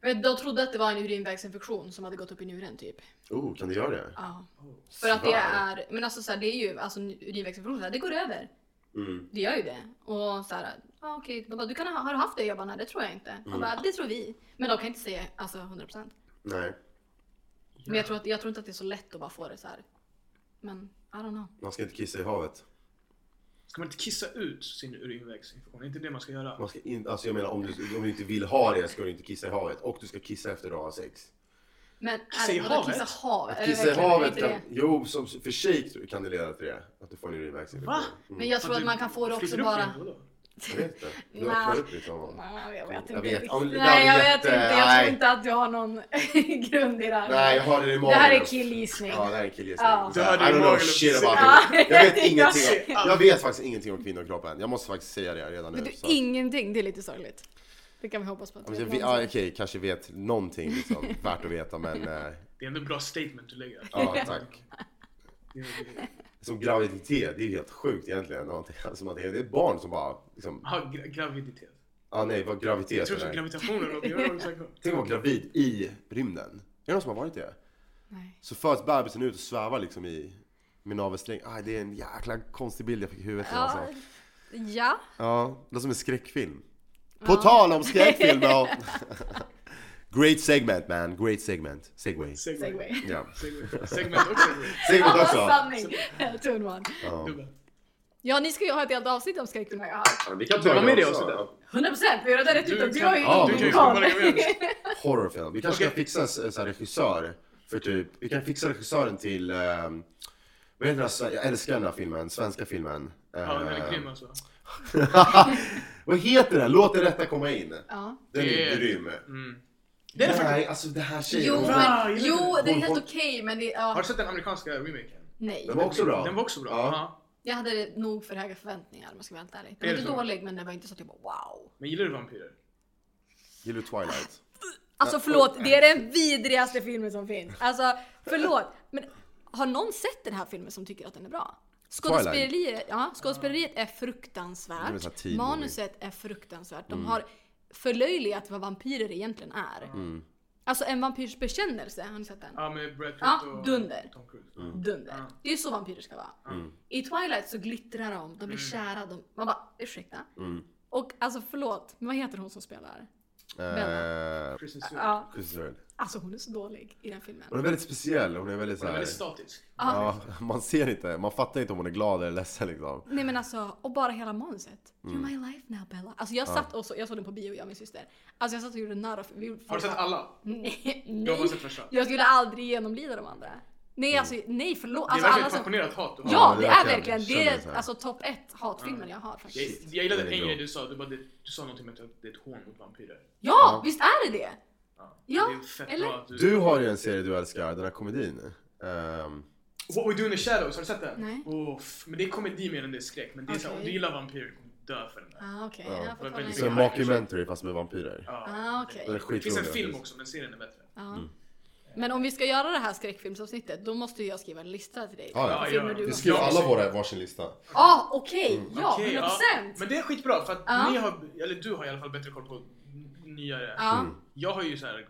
Speaker 3: Men de trodde att det var en urinvägsinfektion som hade gått upp i njuren typ.
Speaker 2: Oh, kan du göra det?
Speaker 3: Ja.
Speaker 4: Oh.
Speaker 3: För att det
Speaker 2: Svar.
Speaker 3: är, men alltså så här, det är ju, alltså urinvägsinfektion, så här, det går över.
Speaker 2: Mm.
Speaker 3: Det gör ju det. Och så här, ah, okej, de bara, du kan ha, har du haft det? Jag bara, nej det tror jag inte. De
Speaker 2: Mm.
Speaker 3: bara, det tror vi. Men de kan inte säga alltså 100%.
Speaker 2: Nej,
Speaker 3: Men jag tror, att, jag tror inte att det är så lätt att bara få det så här. Men, I don't know.
Speaker 2: man ska inte kissa i havet.
Speaker 4: Ska man inte kissa ut sin urinvägsinfektion? Är inte det man ska göra?
Speaker 2: Man ska in, alltså jag menar om du, om du inte vill ha det ska du inte kissa i havet. Och du ska kissa efter du har sex.
Speaker 3: Men
Speaker 4: Kissa i
Speaker 3: är, vadå,
Speaker 4: havet?
Speaker 3: Kissa, hav,
Speaker 2: Att
Speaker 3: är det
Speaker 2: kissa i
Speaker 3: verkligen-
Speaker 2: havet
Speaker 3: är det
Speaker 2: kan,
Speaker 3: det?
Speaker 2: jo, som för shake kan det leda till det. Att du får en urinvägsinfektion.
Speaker 4: Va?
Speaker 2: Mm.
Speaker 3: Men jag tror
Speaker 4: du
Speaker 3: att man kan få det också
Speaker 4: flyter upp
Speaker 3: bara...
Speaker 4: igen, vadå?
Speaker 2: Jag vet inte. Du
Speaker 3: Nja.
Speaker 2: öppnar upp lite av honom.
Speaker 3: Nej, jag vet inte.
Speaker 2: Jag vet. Om-
Speaker 3: Nej, jag
Speaker 2: det
Speaker 3: vet
Speaker 2: hade
Speaker 3: inte.
Speaker 2: gett, eh,
Speaker 3: Jag
Speaker 2: nej.
Speaker 3: tror inte att du har någon grund i det här.
Speaker 2: Nej, jag hörde det i magen.
Speaker 3: det här är killgissning.
Speaker 2: Ja, det här är killgissning.
Speaker 3: Ja.
Speaker 2: Så
Speaker 4: Du
Speaker 2: här,
Speaker 4: hörde
Speaker 2: I don't
Speaker 4: i
Speaker 2: know
Speaker 4: magen.
Speaker 2: shit about
Speaker 3: Ja,
Speaker 2: it. Jag vet
Speaker 3: jag-
Speaker 2: ingenting. Jag vet faktiskt ingenting om kvinnokroppen. Jag måste faktiskt säga det redan nu.
Speaker 3: Vet du,
Speaker 2: så.
Speaker 3: ingenting. Det är lite sorgligt. Det kan vi hoppas på. att
Speaker 2: Alltså, jag
Speaker 3: vi får
Speaker 2: vet-
Speaker 3: en sån.
Speaker 2: ja, okej, kanske vet någonting liksom, värt att veta men eh,
Speaker 4: Det är ändå ett bra statement du lägger.
Speaker 2: ja tack.
Speaker 4: Det är- det är-
Speaker 2: Som graviditet, det är ju helt sjukt egentligen. någonting. Alltså, man- det är ett barn som bara liksom,
Speaker 4: Ja, gra- graviditet.
Speaker 2: ah, nej vad
Speaker 4: Jag
Speaker 2: graviditet
Speaker 4: tror
Speaker 2: är.
Speaker 4: att
Speaker 2: Tänk
Speaker 4: gravitation är något. Jag vet inte vad du snackar om.
Speaker 2: att vara gravid i rymden. Är det någon som har varit det?
Speaker 3: Nej.
Speaker 2: Så föds bebisen ut och svävar liksom i min navelsträng. Ah, det är en jäkla konstig bild jag fick i huvudet nu
Speaker 3: Ja.
Speaker 2: alltså.
Speaker 3: ja.
Speaker 2: Ja, det är som en skräckfilm. På tal om skräckfilm då. Great segment man, great segment. Segway.
Speaker 4: Segway.
Speaker 3: Segway.
Speaker 2: Ja.
Speaker 4: Segway. Segment och segway.
Speaker 2: Segment
Speaker 3: Ja,
Speaker 2: också.
Speaker 3: sanning. Turn one.
Speaker 2: Ja.
Speaker 4: Dubbel.
Speaker 3: Ja, ni ska ju ha ett helt avsnitt om skräckfilmer. Ja,
Speaker 2: Ja, vi kan
Speaker 4: ta det också.
Speaker 3: 100 procent. Vi har redan rätt ut dem. Du har ju
Speaker 2: Ja,
Speaker 4: du
Speaker 3: ingen
Speaker 4: kan ju
Speaker 3: koll.
Speaker 4: komma igen.
Speaker 2: Horrorfilm. Vi kanske
Speaker 4: Okej.
Speaker 2: kan fixa en så här regissör. För typ, vi kan fixa regissören till... ehm, vad heter den här, sve- jag älskar den här filmen, svenska filmen.
Speaker 4: Ja, den är
Speaker 2: Ehm,
Speaker 4: grym alltså.
Speaker 2: vad heter den? Låt det rätta komma in.
Speaker 3: Ja.
Speaker 2: Den
Speaker 4: Det
Speaker 2: är
Speaker 4: är-
Speaker 2: grym.
Speaker 4: Mm. Det är det faktiskt.
Speaker 2: Nej, alltså det här tjejen.
Speaker 3: Jo,
Speaker 2: hon-
Speaker 4: bra,
Speaker 3: men,
Speaker 4: jag
Speaker 3: jo,
Speaker 4: gillar
Speaker 3: det är
Speaker 2: Hon-
Speaker 3: helt
Speaker 2: hon-
Speaker 3: okej, men det...
Speaker 4: Har
Speaker 3: Ja,
Speaker 4: du sett den amerikanska remaken?
Speaker 3: nej.
Speaker 2: Den var också bra.
Speaker 4: Den var också bra.
Speaker 2: Ja.
Speaker 4: Ja.
Speaker 3: Jag hade nog för höga förväntningar om jag ska vara helt ärlig. Den
Speaker 4: Är
Speaker 3: var
Speaker 4: det
Speaker 3: inte
Speaker 4: så?
Speaker 3: dålig, men den var inte så typ wow.
Speaker 4: Men gillar du vampyrer?
Speaker 2: Gillar du Twilight?
Speaker 3: Alltså förlåt, det är den vidrigaste filmen som finns. Alltså förlåt, men har någon sett den här filmen som tycker att den är bra? Skådespeleriet, ja, skådespeleriet är
Speaker 2: Det är väl så här
Speaker 3: fruktansvärt.
Speaker 2: teen Mm.
Speaker 3: Manuset är fruktansvärt. De har förlöjligat vad vampyrer egentligen är.
Speaker 2: Mm.
Speaker 3: Alltså en vampyrs bekännelse, har ni sett den?
Speaker 4: Ja, med Brad Pitt
Speaker 3: Ja,
Speaker 4: och
Speaker 3: dunder.
Speaker 4: Tom Cruise.
Speaker 2: Mm.
Speaker 3: Dunder.
Speaker 4: Ja.
Speaker 3: Det är ju så vampyrer ska vara. I Twilight så glittrar de, de blir kära, de, man bara ursäkta.
Speaker 2: Mm.
Speaker 3: Och alltså förlåt, men vad heter hon som spelar?
Speaker 2: Eh,
Speaker 4: Kristen Stewart.
Speaker 3: Ja,
Speaker 2: Kristen Stewart.
Speaker 3: alltså hon är så dålig i den filmen.
Speaker 2: Hon är väldigt speciell, hon är väldigt
Speaker 4: Den är
Speaker 2: såhär...
Speaker 4: väldigt statisk.
Speaker 2: Ja, man ser inte, man fattar inte om hon är glad eller ledsen liksom.
Speaker 3: Nej men alltså, och bara hela manuset.
Speaker 2: Mm.
Speaker 3: You're my life now Bella. Alltså jag satt och så, jag såg den på bio jag och min syster. Alltså jag satt och gjorde narr av... vi gjorde-
Speaker 4: Har du sett alla?
Speaker 3: Nej,
Speaker 4: Jag har bara
Speaker 3: nej.
Speaker 4: sett första. Det
Speaker 3: Jag skulle aldrig genomlida de andra. Nej alltså, nej förlåt.
Speaker 4: är
Speaker 3: Alltså
Speaker 4: verkligen
Speaker 3: alla
Speaker 4: ett
Speaker 3: som...
Speaker 4: passionerat hat du har.
Speaker 3: Ja
Speaker 2: Mm. Ja,
Speaker 3: det
Speaker 2: det
Speaker 3: är
Speaker 2: verkligen.
Speaker 3: verkligen, det
Speaker 2: Känner det så
Speaker 3: är
Speaker 2: här.
Speaker 3: alltså topp ett
Speaker 4: Mm.
Speaker 3: hatfilmer jag har faktiskt.
Speaker 4: Jag, jag gillade
Speaker 2: Det är
Speaker 4: en
Speaker 2: bra.
Speaker 4: grej du sa, du, bara, det- du sa någonting om att det är ett hån mot vampyrer.
Speaker 3: Ja, visst är det det?
Speaker 4: Ja,
Speaker 3: Ja,
Speaker 4: det är fett
Speaker 3: eller?
Speaker 4: bra att du...
Speaker 2: Du har ju en serie du älskar, den här komedin. Ehm,
Speaker 4: Mm. What We Do In The Shadows, har du sett den?
Speaker 3: Nej.
Speaker 4: Åh, f- men det är komedi mer än det är skräck. Men det är så här, om
Speaker 3: Okej.
Speaker 4: du gillar vampyrer kommer du dö för den där.
Speaker 3: Ah, okej.
Speaker 2: Ja.
Speaker 3: Jag får kolla
Speaker 4: Men-
Speaker 2: så en
Speaker 3: lite.
Speaker 4: men-
Speaker 2: mockumentary fast med vampyrer.
Speaker 4: Ja.
Speaker 3: Ah, okej.
Speaker 2: Den är
Speaker 4: Det finns en
Speaker 2: skitrolig.
Speaker 4: film också, men serien är bättre.
Speaker 3: Ja.
Speaker 2: Mm.
Speaker 3: Men om vi ska göra det här skräckfilmsavsnittet, då måste ju jag skriva en lista till dig.
Speaker 2: Ja, ja.
Speaker 3: På filmer
Speaker 4: Ja, ja.
Speaker 3: du
Speaker 2: Vi
Speaker 3: har-
Speaker 2: skriver alla våra varsin lista.
Speaker 3: Ja, okej!
Speaker 2: Mm.
Speaker 3: Ja,
Speaker 4: Okej,
Speaker 3: 100%!
Speaker 4: Men det är skitbra för att
Speaker 3: Ja.
Speaker 4: ni har, eller du har i alla fall bättre koll på n- nyare.
Speaker 3: Ja.
Speaker 2: Mm.
Speaker 4: Jag har ju så här.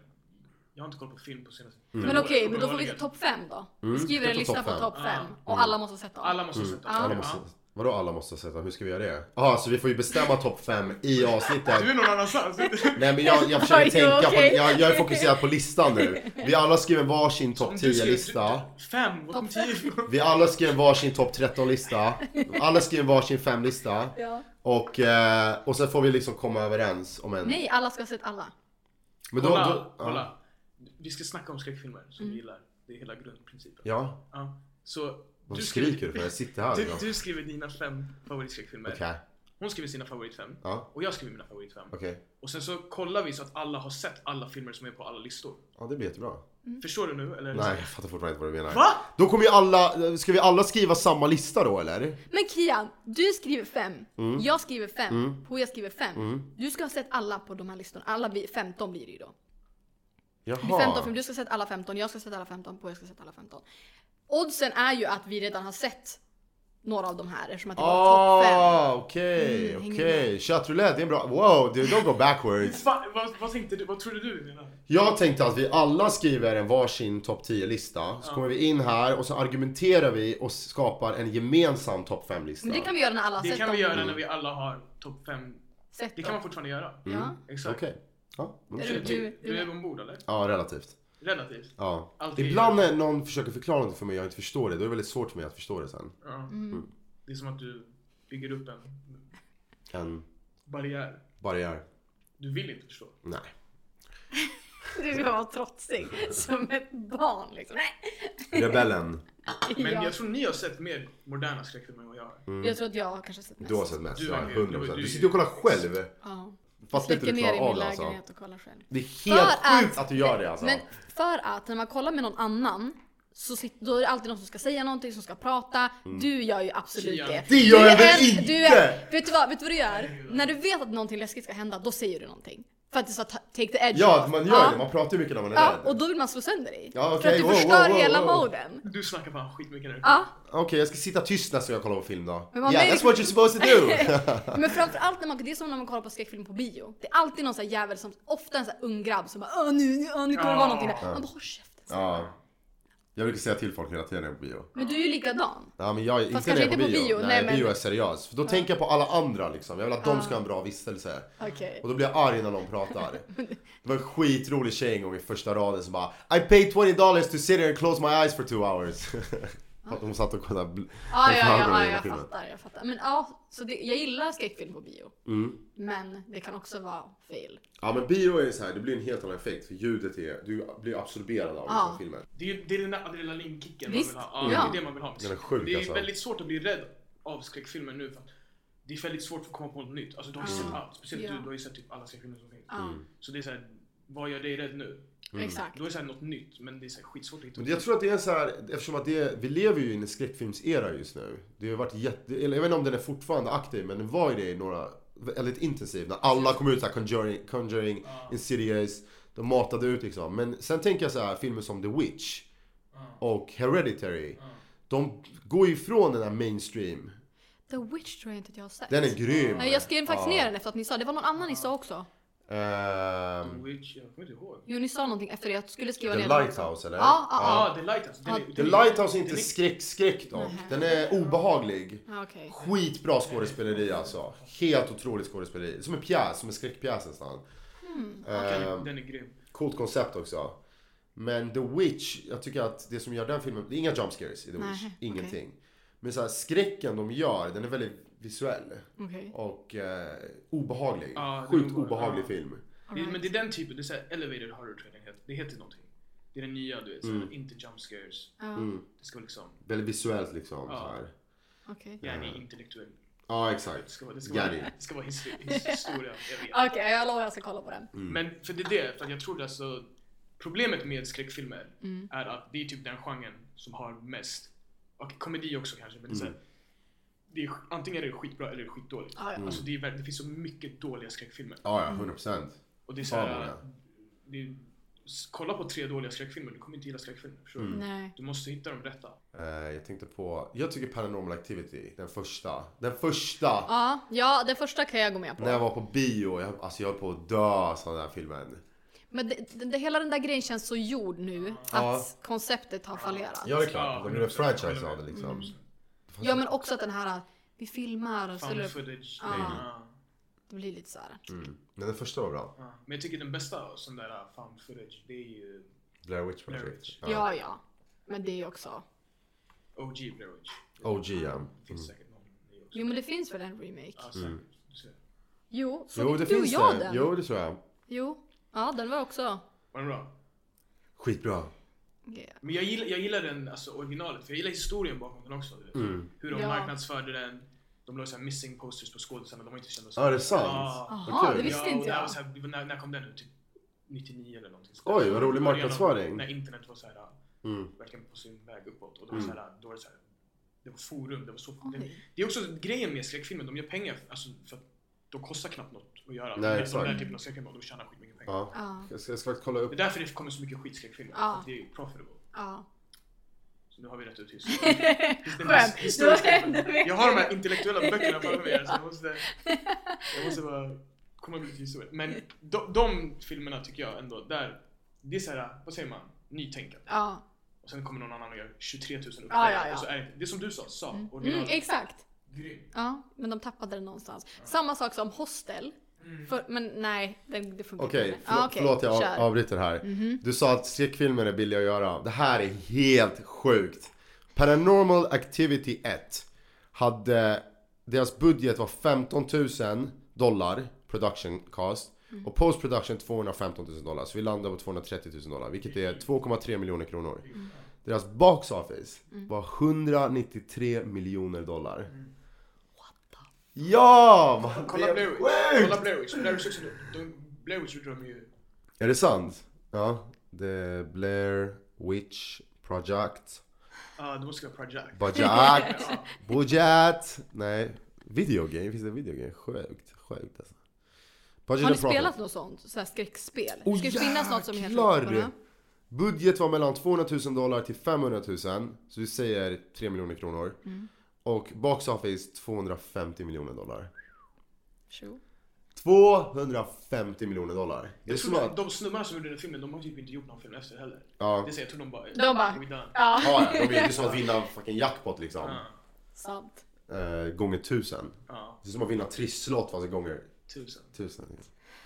Speaker 4: jag har inte koll på film på senaste
Speaker 3: Men
Speaker 4: året,
Speaker 3: okej, men då får vi
Speaker 4: uppenbarligen.
Speaker 3: topp fem då.
Speaker 2: Mm,
Speaker 3: Vi skriver
Speaker 2: vi
Speaker 3: en
Speaker 2: tar
Speaker 3: lista
Speaker 2: topp
Speaker 3: på
Speaker 2: fem. Mm.
Speaker 3: topp fem.
Speaker 4: Ja.
Speaker 3: Och alla måste ha sett dem.
Speaker 4: Alla måste sätta
Speaker 3: Ja.
Speaker 2: Alla måste, vadå alla måste sätta? Hur ska vi göra det? Jaha, så vi får ju bestämma topp fem i avsnittet.
Speaker 4: Du är någon annanstans.
Speaker 2: Nej men jag, jag försöker
Speaker 3: Oj,
Speaker 2: tänka på,
Speaker 3: okej.
Speaker 2: jag, jag är fokuserad på listan nu. Vi alla skrev en varsin topp
Speaker 4: Om du skrev-
Speaker 2: 10-lista.
Speaker 4: du- Fem, vad kom tio ifrån?
Speaker 2: Vi alla skrev en varsin topp 13-lista. Alla skrev en varsin femlista.
Speaker 3: Ja.
Speaker 2: Och, eh, och sen får vi liksom komma överens om en...
Speaker 3: Nej, alla ska ha sett alla.
Speaker 2: Men då-
Speaker 4: Kolla,
Speaker 2: då-
Speaker 4: kolla. Vi ska snacka om skräckfilmer som vi gillar. Det är hela grundprincipen.
Speaker 2: Ja.
Speaker 4: Ja. Så
Speaker 2: Vad skriker du för? Jag sitter här.
Speaker 4: du,
Speaker 2: ja.
Speaker 4: du skriver dina fem favoritskräckfilmer.
Speaker 2: Okej.
Speaker 4: Hon skriver sina favoritfem.
Speaker 2: Ja.
Speaker 4: Och jag skriver mina favoritfem.
Speaker 2: Okej.
Speaker 4: Och sen så kollar vi så att alla har sett alla filmer som är på alla listor.
Speaker 2: Ja, det blir jättebra.
Speaker 4: Förstår du nu? Eller?
Speaker 2: Nej, jag fattar fortfarande inte vad du menar.
Speaker 4: Mm. Va?
Speaker 2: Då kommer ju alla... Ska vi alla skriva samma lista då eller?
Speaker 3: Men Kian, du skriver fem.
Speaker 2: Mm.
Speaker 3: Jag skriver fem. Poja skriver fem. Du ska ha sett alla på de här listorna. Alla vi, 15 blir det ju då. Det är 15
Speaker 2: Jaha.
Speaker 3: film. Du ska ha sett alla 15, jag ska ha sett alla 15, Poja ska ha sett alla 15. Oddsen är ju att vi redan har sett några av de här eftersom att det var topp fem.
Speaker 2: Ah, okej,
Speaker 3: Mm, hänger
Speaker 2: okej. Chat roulette, det är en bra... Wow, du, don't go backwards.
Speaker 4: Fan, vad, vad tänkte du? Vad trodde du vi menade?
Speaker 2: Jag tänkte att vi alla skriver en varsin topp 10-lista, så kommer vi in här och så argumenterar vi och skapar en gemensam topp 5-lista.
Speaker 3: Men det kan vi göra när alla har
Speaker 4: Det
Speaker 3: sett
Speaker 4: kan
Speaker 3: dem.
Speaker 4: vi göra när vi alla har topp fem.
Speaker 3: Sett
Speaker 4: Det kan man
Speaker 3: dem.
Speaker 4: fortfarande göra.
Speaker 3: Ja.
Speaker 4: Exakt.
Speaker 2: Mm.
Speaker 4: typ-
Speaker 2: Okej. Ja, men då
Speaker 3: Är
Speaker 2: kör
Speaker 4: Du,
Speaker 2: vi.
Speaker 4: du, du är ombord eller?
Speaker 2: ja, relativt.
Speaker 4: Relativt.
Speaker 2: Ja.
Speaker 4: Alltid.
Speaker 2: Ibland när någon försöker förklara något för mig och jag inte förstår det, då är det väldigt svårt för mig att förstå det sen.
Speaker 4: Ja.
Speaker 3: Mm.
Speaker 4: Det är som att du bygger upp en
Speaker 2: En
Speaker 4: barriär.
Speaker 2: barriär.
Speaker 4: Du vill inte förstå.
Speaker 2: Nej.
Speaker 3: Du ska vara trotsig som ett barn liksom. Nej.
Speaker 2: Rebellen.
Speaker 4: Men
Speaker 3: Ja.
Speaker 4: jag tror ni har sett mer moderna skräckfilmer än vad jag har.
Speaker 3: Jag tror att jag har kanske sett mest.
Speaker 2: Mm. Du har sett mest,
Speaker 4: Du
Speaker 2: ja.
Speaker 4: är-
Speaker 2: 100%.
Speaker 4: du-
Speaker 2: Du sitter och kollar själv.
Speaker 3: Ja.
Speaker 2: Fattar inte
Speaker 3: Släcker
Speaker 2: du
Speaker 3: ner
Speaker 2: klarar
Speaker 3: i
Speaker 2: av
Speaker 3: min
Speaker 2: det alltså.
Speaker 3: lägenhet och kollar själv.
Speaker 2: Det är helt
Speaker 3: För
Speaker 2: sjukt att du gör det alltså.
Speaker 3: Men för att när man kollar med någon annan så sit- då är det alltid någon som ska säga någonting, som ska prata. Du gör ju absolut
Speaker 4: Tja.
Speaker 3: det.
Speaker 2: Mm. Det gör
Speaker 3: Du är
Speaker 2: jag väl
Speaker 3: en-
Speaker 2: inte?
Speaker 3: Du är, vet, du vad, vet du vad du gör? När du vet att någonting läskigt ska hända, då säger du någonting. För att det är så att ta- take the edge
Speaker 2: Ja,
Speaker 3: off.
Speaker 2: man gör
Speaker 3: ja.
Speaker 2: det. Man pratar ju mycket när man är
Speaker 3: Ja,
Speaker 2: rädd.
Speaker 3: och då vill man slå sönder dig.
Speaker 2: Ja,
Speaker 3: För
Speaker 2: okej.
Speaker 3: att du
Speaker 2: Wow,
Speaker 3: förstör
Speaker 2: wow, wow,
Speaker 3: hela
Speaker 2: wow.
Speaker 3: moden.
Speaker 4: Du snackar fan skitmycket när du
Speaker 3: Ja,
Speaker 2: Okej, jag ska sitta tyst nästa gång jag kollar på film då.
Speaker 3: Men man
Speaker 2: yeah,
Speaker 3: märker-
Speaker 2: that's what you're supposed to do!
Speaker 3: men framförallt när man, det är som när man kollar på skräckfilm på bio. Det är alltid någon sån här jävel som, ofta en sån här ung grabb som bara åh nu, nu, åh, nu kommer det vara någonting där. Man bara håll käften.
Speaker 2: ja. Jag brukar säga till folk hela tiden när jag är på bio.
Speaker 3: Men du är ju likadan.
Speaker 2: Ja, men jag, inte när
Speaker 3: kanske
Speaker 2: jag är på
Speaker 3: inte
Speaker 2: bio. Nej,
Speaker 3: men-
Speaker 2: bio är seriös. För då tänker jag på alla andra liksom. Jag vill att de ska ha en bra vistelse.
Speaker 3: Okej.
Speaker 2: Och då blir jag arg när någon pratar. Det var en skitrolig tjej en gång i första raden som bara I paid 20 dollars to sit here and close my eyes for two hours. För att hon satt och kollade. bl-
Speaker 3: Ja,
Speaker 2: kollade
Speaker 3: ja,
Speaker 2: på
Speaker 3: ja,
Speaker 2: andra
Speaker 3: ja,
Speaker 2: hela
Speaker 3: jag
Speaker 2: filmen.
Speaker 3: fattar, jag fattar. Men ja, så det, jag gillar skräckfilm på bio.
Speaker 2: Mm.
Speaker 3: Men det kan också vara fail.
Speaker 2: Ja men bio är ju så här, det blir en helt annan effekt för ljudet är, du blir absorberad av liksom,
Speaker 3: Ja.
Speaker 2: filmen.
Speaker 4: Det är ju det är den där adrenalinkicken
Speaker 3: Visst,
Speaker 4: man vill ha. Ja,
Speaker 3: ja.
Speaker 4: Det är det man vill ha.
Speaker 2: Den är sjuk,
Speaker 4: det är
Speaker 2: alltså.
Speaker 4: väldigt svårt att bli rädd av skräckfilmer nu. För att det är väldigt svårt att komma på något nytt. Alltså du har ju sett allt. Speciellt
Speaker 3: Ja.
Speaker 4: du, du har ju sett typ alla skräckfilmer som finns.
Speaker 3: Ja,
Speaker 2: Mm.
Speaker 4: Så det är såhär, vad gör dig rädd nu?
Speaker 3: exakt.
Speaker 4: Då är det såhär något nytt, men det är såhär skitsvårt att hitta.
Speaker 2: Men jag tror att det är så här, eftersom att det, vi lever ju i en skräckfilmsera just nu. Det har varit jätte, eller jag vet inte om den är fortfarande aktiv men den var ju det i några, väldigt intensiv när alla kom ut så här Conjuring, Conjuring Insidious, de matade ut liksom. Men sen tänker jag så här, filmer som The Witch och Hereditary, de går ju ifrån den här mainstream.
Speaker 3: The Witch tror jag inte att jag har sett.
Speaker 2: Den är grym.
Speaker 3: Nej, jag skrev faktiskt ner den efter att ni sa det. var någon annan ni sa också.
Speaker 2: Ehm,
Speaker 4: Witch, jag kommer inte ihåg.
Speaker 3: Jo, ni sa någonting efter det. Jag skulle skriva
Speaker 2: The
Speaker 3: ner den också.
Speaker 2: Lighthouse eller?
Speaker 3: Ja, ja,
Speaker 4: Ja, ah, The Lighthouse. Den, är-
Speaker 2: The
Speaker 4: den, är-
Speaker 2: Lighthouse är inte
Speaker 4: den
Speaker 2: skräck-skräck dock. Den är obehaglig.
Speaker 3: Ja, okej.
Speaker 2: Skitbra skådespeleri alltså. Helt otroligt skådespeleri. Som en pjäs, som en skräckpjäs nästan.
Speaker 4: Okej,
Speaker 2: Ehm,
Speaker 4: den är grym.
Speaker 2: coolt koncept också. Men The Witch, jag tycker att det som gör den filmen, det är inga jump scares i The Witch.
Speaker 3: Nej,
Speaker 2: Ingenting. Men så här, skräcken de gör, den är väldigt visuell.
Speaker 3: Okej.
Speaker 2: Och eh, obehaglig.
Speaker 4: Ja, det är
Speaker 2: Sjukt
Speaker 4: obehaglig.
Speaker 2: obehaglig
Speaker 4: Ja.
Speaker 2: film.
Speaker 4: Det, men det är den typen, det är såhär elevated horror tror jag den heter. Det heter någonting. Det är den nya du vet, såhär, inte jump scares.
Speaker 3: Ja,
Speaker 2: Mm.
Speaker 4: Det ska vara liksom,
Speaker 2: Väldigt visuellt liksom.
Speaker 4: Ja.
Speaker 2: Så här.
Speaker 3: Okej.
Speaker 4: gärna intellektuell.
Speaker 2: Ja,
Speaker 4: Det
Speaker 2: exakt.
Speaker 4: ska vara, det ska vara,
Speaker 2: Gary.
Speaker 4: det ska vara his, his historia, jag vet.
Speaker 3: Okej, jag lovar jag ska kolla på den.
Speaker 2: Mm.
Speaker 4: Men för det är det, för att jag tror alltså Problemet med skräckfilmer
Speaker 3: Mm.
Speaker 4: är att det är typ den genren som har mest, och komedi också kanske, men det är, så här, det är antingen är det skitbra eller det är skitdåligt.
Speaker 3: Ja, ja.
Speaker 4: Alltså det, är, verk- det finns så mycket dåliga skräckfilmer.
Speaker 2: Ja, ja, 100%.
Speaker 4: Och det är så
Speaker 2: Fan,
Speaker 4: här,
Speaker 2: många.
Speaker 4: det är, s- kolla på tre dåliga skräckfilmer, du kommer inte gilla skräckfilmer. förstår du?
Speaker 3: Nej.
Speaker 4: Du måste hitta de rätta.
Speaker 2: Eh, jag tänkte på, jag tycker Paranormal Activity, den första. Den första!
Speaker 3: Ja, ja, det första kan jag gå med på.
Speaker 2: När jag var på bio, jag, alltså jag höll på att dö sån där filmen.
Speaker 3: Men det, det, det, hela den där grejen känns så gjord nu att
Speaker 2: Ja.
Speaker 3: konceptet har fallerat.
Speaker 2: Ja det är
Speaker 4: Ja,
Speaker 2: klart, det blev en
Speaker 4: 100%.
Speaker 2: franchise av det liksom.
Speaker 3: Mm. Ja, men också att den här, vi filmar och
Speaker 4: Found
Speaker 3: ställer upp.
Speaker 4: footage.
Speaker 3: Ja.
Speaker 4: Ja.
Speaker 3: Det blir lite så här.
Speaker 2: Men den första var bra.
Speaker 4: Ja. Men jag tycker den bästa sån där uh, found footage, det är ju
Speaker 2: Blair Witch var
Speaker 4: Blair
Speaker 2: det
Speaker 4: Witch.
Speaker 2: ja.
Speaker 3: Ja, ja. Men det är också.
Speaker 4: OG Blair Witch.
Speaker 2: OG ja. Mm.
Speaker 4: Det finns säkert någon i också.
Speaker 3: Jo, men det finns väl en remake?
Speaker 4: Ja, säkert. Du ser.
Speaker 3: Jo, såg
Speaker 2: Jo
Speaker 3: inte
Speaker 2: det
Speaker 3: du och
Speaker 2: finns
Speaker 3: jag
Speaker 2: det.
Speaker 3: den?
Speaker 2: Jo det tror jag.
Speaker 3: Jo. Ja, den var också.
Speaker 4: Var den bra?
Speaker 2: Skitbra.
Speaker 3: Okej.
Speaker 4: Men jag gillar, jag gillar den, alltså originalet, för jag gillar historien bakom den också. du vet.
Speaker 2: Mm.
Speaker 4: Hur de
Speaker 3: Ja.
Speaker 4: marknadsförde den. De la så här missing posters på skådisarna, de var inte kända. så.
Speaker 2: Ja, det är sant.
Speaker 4: Ja.
Speaker 3: Jaha,
Speaker 2: kul.
Speaker 3: det visste
Speaker 4: ja, och
Speaker 3: inte
Speaker 4: det här var
Speaker 3: jag.
Speaker 4: så här, när, när kom den ut? Typ 99 eller någonting. sånt.
Speaker 2: Oj, vad rolig
Speaker 4: Början av-
Speaker 2: marknadsföring.
Speaker 4: När internet var så här,
Speaker 2: Mm.
Speaker 4: verkligen på sin väg uppåt. Och det var så här, då var det så här, det var forum, det var så. Det,
Speaker 3: Oj.
Speaker 4: det är också grejen med skräckfilmer, de gör pengar alltså, för att de kostar knappt något att göra.
Speaker 2: Nej,
Speaker 4: Nej, de
Speaker 2: exakt.
Speaker 4: där typen av skräckfilmer, de tjänar skitmycket pengar.
Speaker 2: Ja.
Speaker 3: Ja.
Speaker 2: Jag ska, jag ska faktiskt kolla upp.
Speaker 4: Det är därför det kommer så mycket skitskräckfilmer,
Speaker 3: Ja.
Speaker 4: för att det är profitable.
Speaker 3: Ja.
Speaker 4: Så nu har vi rätt ut hus.
Speaker 3: Skönt.
Speaker 4: Historisk
Speaker 3: Då-
Speaker 4: skillnad.
Speaker 3: då vet
Speaker 4: Jag har de
Speaker 3: jag.
Speaker 4: här intellektuella böckerna framför mig här, så jag måste, jag måste bara komma upp lite historia. Men de, de filmerna tycker jag ändå, där, det är såhär, vad säger man, nytänkande.
Speaker 3: Ja,
Speaker 4: Och sen kommer någon annan och gör 23 000 uppföljare.
Speaker 3: Ja, ja, ja.
Speaker 4: Och så Alltså, är det, inte- det är som du sa, sa
Speaker 3: mm,
Speaker 4: originalet.
Speaker 3: exakt.
Speaker 4: Grym.
Speaker 3: Ja, men de tappade det någonstans. Samma sak som Hostel.
Speaker 4: Mm.
Speaker 3: För, men nej, det, det funkar
Speaker 2: Okej,
Speaker 3: inte.
Speaker 2: förlåt,
Speaker 3: Ja, okej,
Speaker 2: förlåt jag
Speaker 3: kör. Mhm.
Speaker 2: av, avbryter här. Du sa att skräckfilmer är billiga att göra. Det här är helt sjukt. Paranormal Activity 1 hade, deras budget var 15 000 dollar production cost
Speaker 3: Mm.
Speaker 2: och post production 215 000 dollar. Så vi landar på 230 000 dollar, vilket
Speaker 3: Mm.
Speaker 2: är 2,3 miljoner kronor. Deras box office
Speaker 3: Mm.
Speaker 2: var 193 miljoner dollar. Ja! man, det
Speaker 4: Kolla
Speaker 2: är
Speaker 4: Blair Witch.
Speaker 2: sjukt!
Speaker 4: Kolla Blair Witch. Blair Witch också. De- Blair Witch gjorde de ju...
Speaker 2: Är det sant? Ja. The Blair Witch Project.
Speaker 4: ah det måste vara Project.
Speaker 2: Budget. Budget. Nej. Videogame. Finns det videogame? Sjukt. Sjukt alltså. Budget
Speaker 3: Har ni
Speaker 2: and profit.
Speaker 3: spelat något sånt? Så här skräckspel?
Speaker 2: Åh,
Speaker 3: det ska ju finnas något som heter
Speaker 2: jäklar!
Speaker 3: Robotarna.
Speaker 2: Budget var mellan 200 000 dollar till 500 000. Så vi säger 3 miljoner kronor.
Speaker 3: Mm.
Speaker 2: Och box office 250 miljoner dollar.
Speaker 3: Tjo.
Speaker 2: 250 miljoner dollar. Det är
Speaker 4: Jag
Speaker 2: som
Speaker 4: tror
Speaker 2: att...
Speaker 4: de, de snubbarna som gjorde den filmen, de har typ inte gjort någon film efter heller.
Speaker 2: Ja.
Speaker 4: Det säger jag tror de bara...
Speaker 3: De bara-
Speaker 4: We done.
Speaker 3: Ja,
Speaker 2: Ja, ja, de är- det är som att vinna fucking jackpot liksom.
Speaker 4: Ja.
Speaker 3: sant.
Speaker 2: Eh, gånger 1000.
Speaker 4: Ja,
Speaker 2: Det är som att vinna trisslott fast gånger
Speaker 4: tusen.
Speaker 2: tusen.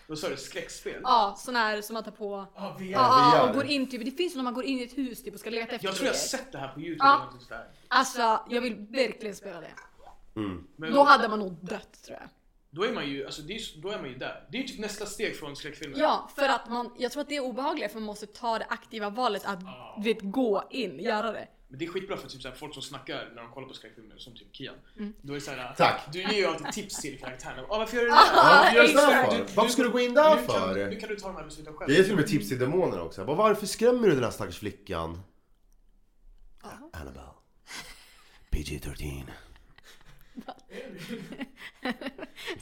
Speaker 4: Vad sa du? Skräckspel?
Speaker 3: Ja, sån här som man tar på.
Speaker 4: Ah, VR.
Speaker 3: Ja,
Speaker 2: VR.
Speaker 3: och går in typ. Det finns ju när man går in i ett hus typ och ska leta efter
Speaker 4: Jag tror jag har
Speaker 3: grejer.
Speaker 4: sett det här på youtube
Speaker 3: Ja.
Speaker 4: eller något sånt där.
Speaker 3: Alltså, jag vill verkligen spela det.
Speaker 4: Men
Speaker 3: Då
Speaker 4: då,
Speaker 3: hade man nog dött tror jag.
Speaker 4: är man ju, alltså det är, ju- då är man ju där. Det är ju typ nästa steg från skräckfilmen.
Speaker 3: Ja, för att man, jag tror att det är obehagligt för man måste ta det aktiva valet att du vet, gå in, göra det.
Speaker 4: Men det är skitbra för typ såhär, folk som snackar när de kollar på skräckfilmer, som typ Kian.
Speaker 3: Mm.
Speaker 4: Då är det såhär,
Speaker 2: Tack.
Speaker 4: du ger ju alltid tips till karaktärerna. Ah, varför gör du det där?
Speaker 2: Varför gör du
Speaker 3: exakt.
Speaker 2: sådär för? Varför ska du gå in där
Speaker 4: Nu kan,
Speaker 2: för?
Speaker 4: nu kan du ta de här besluten själv.
Speaker 2: Det är till och med tips till demoner också. Bara, varför skrämmer du den här stackars flickan? Annabelle. PG-13.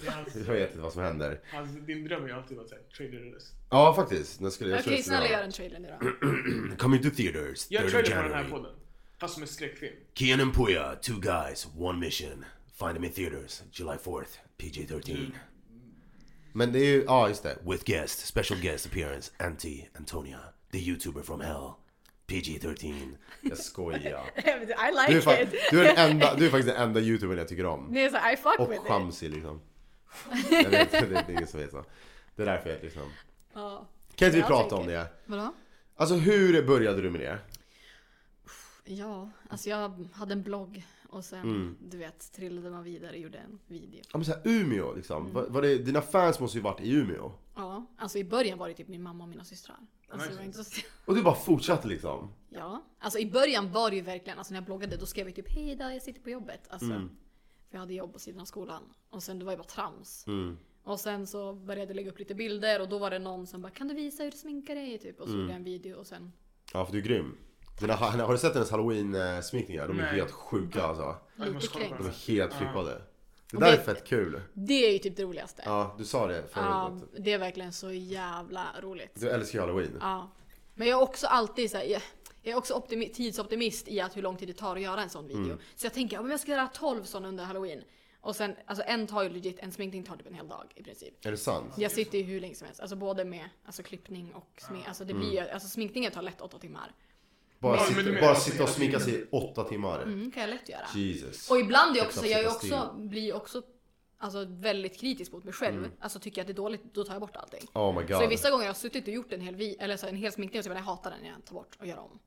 Speaker 4: Hans-
Speaker 2: Jag vet inte vad som händer.
Speaker 4: hans- din dröm har ju alltid varit såhär, trailerless.
Speaker 2: Ja, faktiskt. Den skulle, jag
Speaker 3: Okej,
Speaker 2: skulle
Speaker 3: snälla gör
Speaker 2: säga.
Speaker 3: en trailer nu då.
Speaker 2: Coming to theaters.
Speaker 4: Gör
Speaker 2: 3rd
Speaker 4: trailer på den här
Speaker 2: January.
Speaker 4: podden. Fast som en skräckfilm.
Speaker 2: Kian and Puya, two guys, one mission. Find them in theaters, July 4th, PG-13.
Speaker 3: Mm.
Speaker 2: Men det är ju, ja just det.
Speaker 1: with guest, special guest appearance, Auntie Antonia, the YouTuber from hell, PG 13.
Speaker 2: Jag skojar.
Speaker 3: I like
Speaker 2: Du är, fa-
Speaker 3: it.
Speaker 2: du är, den enda, du är faktiskt den enda youtubern jag tycker om.
Speaker 3: Det är så, I fuck
Speaker 2: Och
Speaker 3: with it.
Speaker 2: chamsig liksom. Jag vet, det är ingen som vet så. Det är därför jag liksom.
Speaker 3: Ja.
Speaker 2: Kan inte vi
Speaker 3: Jag
Speaker 2: prata
Speaker 3: tänker.
Speaker 2: om det?
Speaker 3: Vadå?
Speaker 2: Alltså hur började du med det?
Speaker 3: Ja, alltså jag hade en blogg och sen,
Speaker 4: Mm.
Speaker 3: du vet, trillade man vidare och gjorde en video.
Speaker 2: Ja men såhär Umeå liksom.
Speaker 3: Mm.
Speaker 2: Var, var det, dina fans måste ju varit i Umeå.
Speaker 3: Ja, alltså i början var det typ min mamma och mina systrar. Alltså, det var
Speaker 4: Nice.
Speaker 3: inte så...
Speaker 2: Och du bara fortsatte liksom.
Speaker 3: Ja, alltså i början var det ju verkligen, alltså när jag bloggade då skrev jag typ hej idag, jag sitter på jobbet. Alltså,
Speaker 4: Mm.
Speaker 3: För jag hade jobb på sidan av skolan. Och sen det var ju bara trams.
Speaker 4: Mm.
Speaker 3: Och sen så började jag lägga upp lite bilder och då var det någon som bara kan du visa hur du sminkar dig? Typ.
Speaker 4: Mm.
Speaker 3: Och så gjorde jag en video och sen
Speaker 2: Ja för du är grym. Dina, har har du sett hennes halloween-sminkningar? De är
Speaker 4: Nej.
Speaker 2: helt sjuka alltså.
Speaker 4: Jag måste kolla på
Speaker 2: De
Speaker 4: den
Speaker 2: är
Speaker 4: här.
Speaker 2: helt flippade. Det
Speaker 3: Och
Speaker 2: där är
Speaker 3: det-
Speaker 2: fett kul.
Speaker 3: det är ju typ det roligaste. Ja,
Speaker 2: Ja, du sa det förut. att
Speaker 3: det är verkligen så jävla roligt.
Speaker 2: Du älskar ju halloween.
Speaker 3: Ja. Men jag är också alltid så här, jag, jag är också optimi- tidsoptimist i att hur lång tid det tar att göra en sån video. Så jag tänker, ja, men jag ska göra 12 sådana under halloween. Och sen, alltså en tar ju legit, en sminkning tar typ en hel dag i princip.
Speaker 2: Är det sant?
Speaker 3: Jag sitter ju hur länge som helst, alltså både med alltså, klippning och smink. Alltså, det blir, ju- alltså sminkningen tar lätt åtta timmar.
Speaker 2: Bara,
Speaker 4: Ja, men du
Speaker 2: sitta,
Speaker 4: menar
Speaker 2: bara
Speaker 4: alltså
Speaker 2: sitta
Speaker 4: hela
Speaker 2: och sminka sig
Speaker 4: tiden.
Speaker 2: i åtta timmar.
Speaker 3: Mm, kan jag lätt göra.
Speaker 2: Jesus.
Speaker 3: Och ibland är jag
Speaker 2: Exakt,
Speaker 3: också, jag är ju
Speaker 2: sitta
Speaker 3: också, blir ju också alltså, väldigt kritisk mot mig själv. Alltså tycker jag att det är dåligt, då tar jag bort allting.
Speaker 2: Oh my god.
Speaker 3: Så vissa gånger har jag suttit och gjort en hel, vi, eller så en hel sminkning och så bara, jag hatar den, jag tar bort och gör om.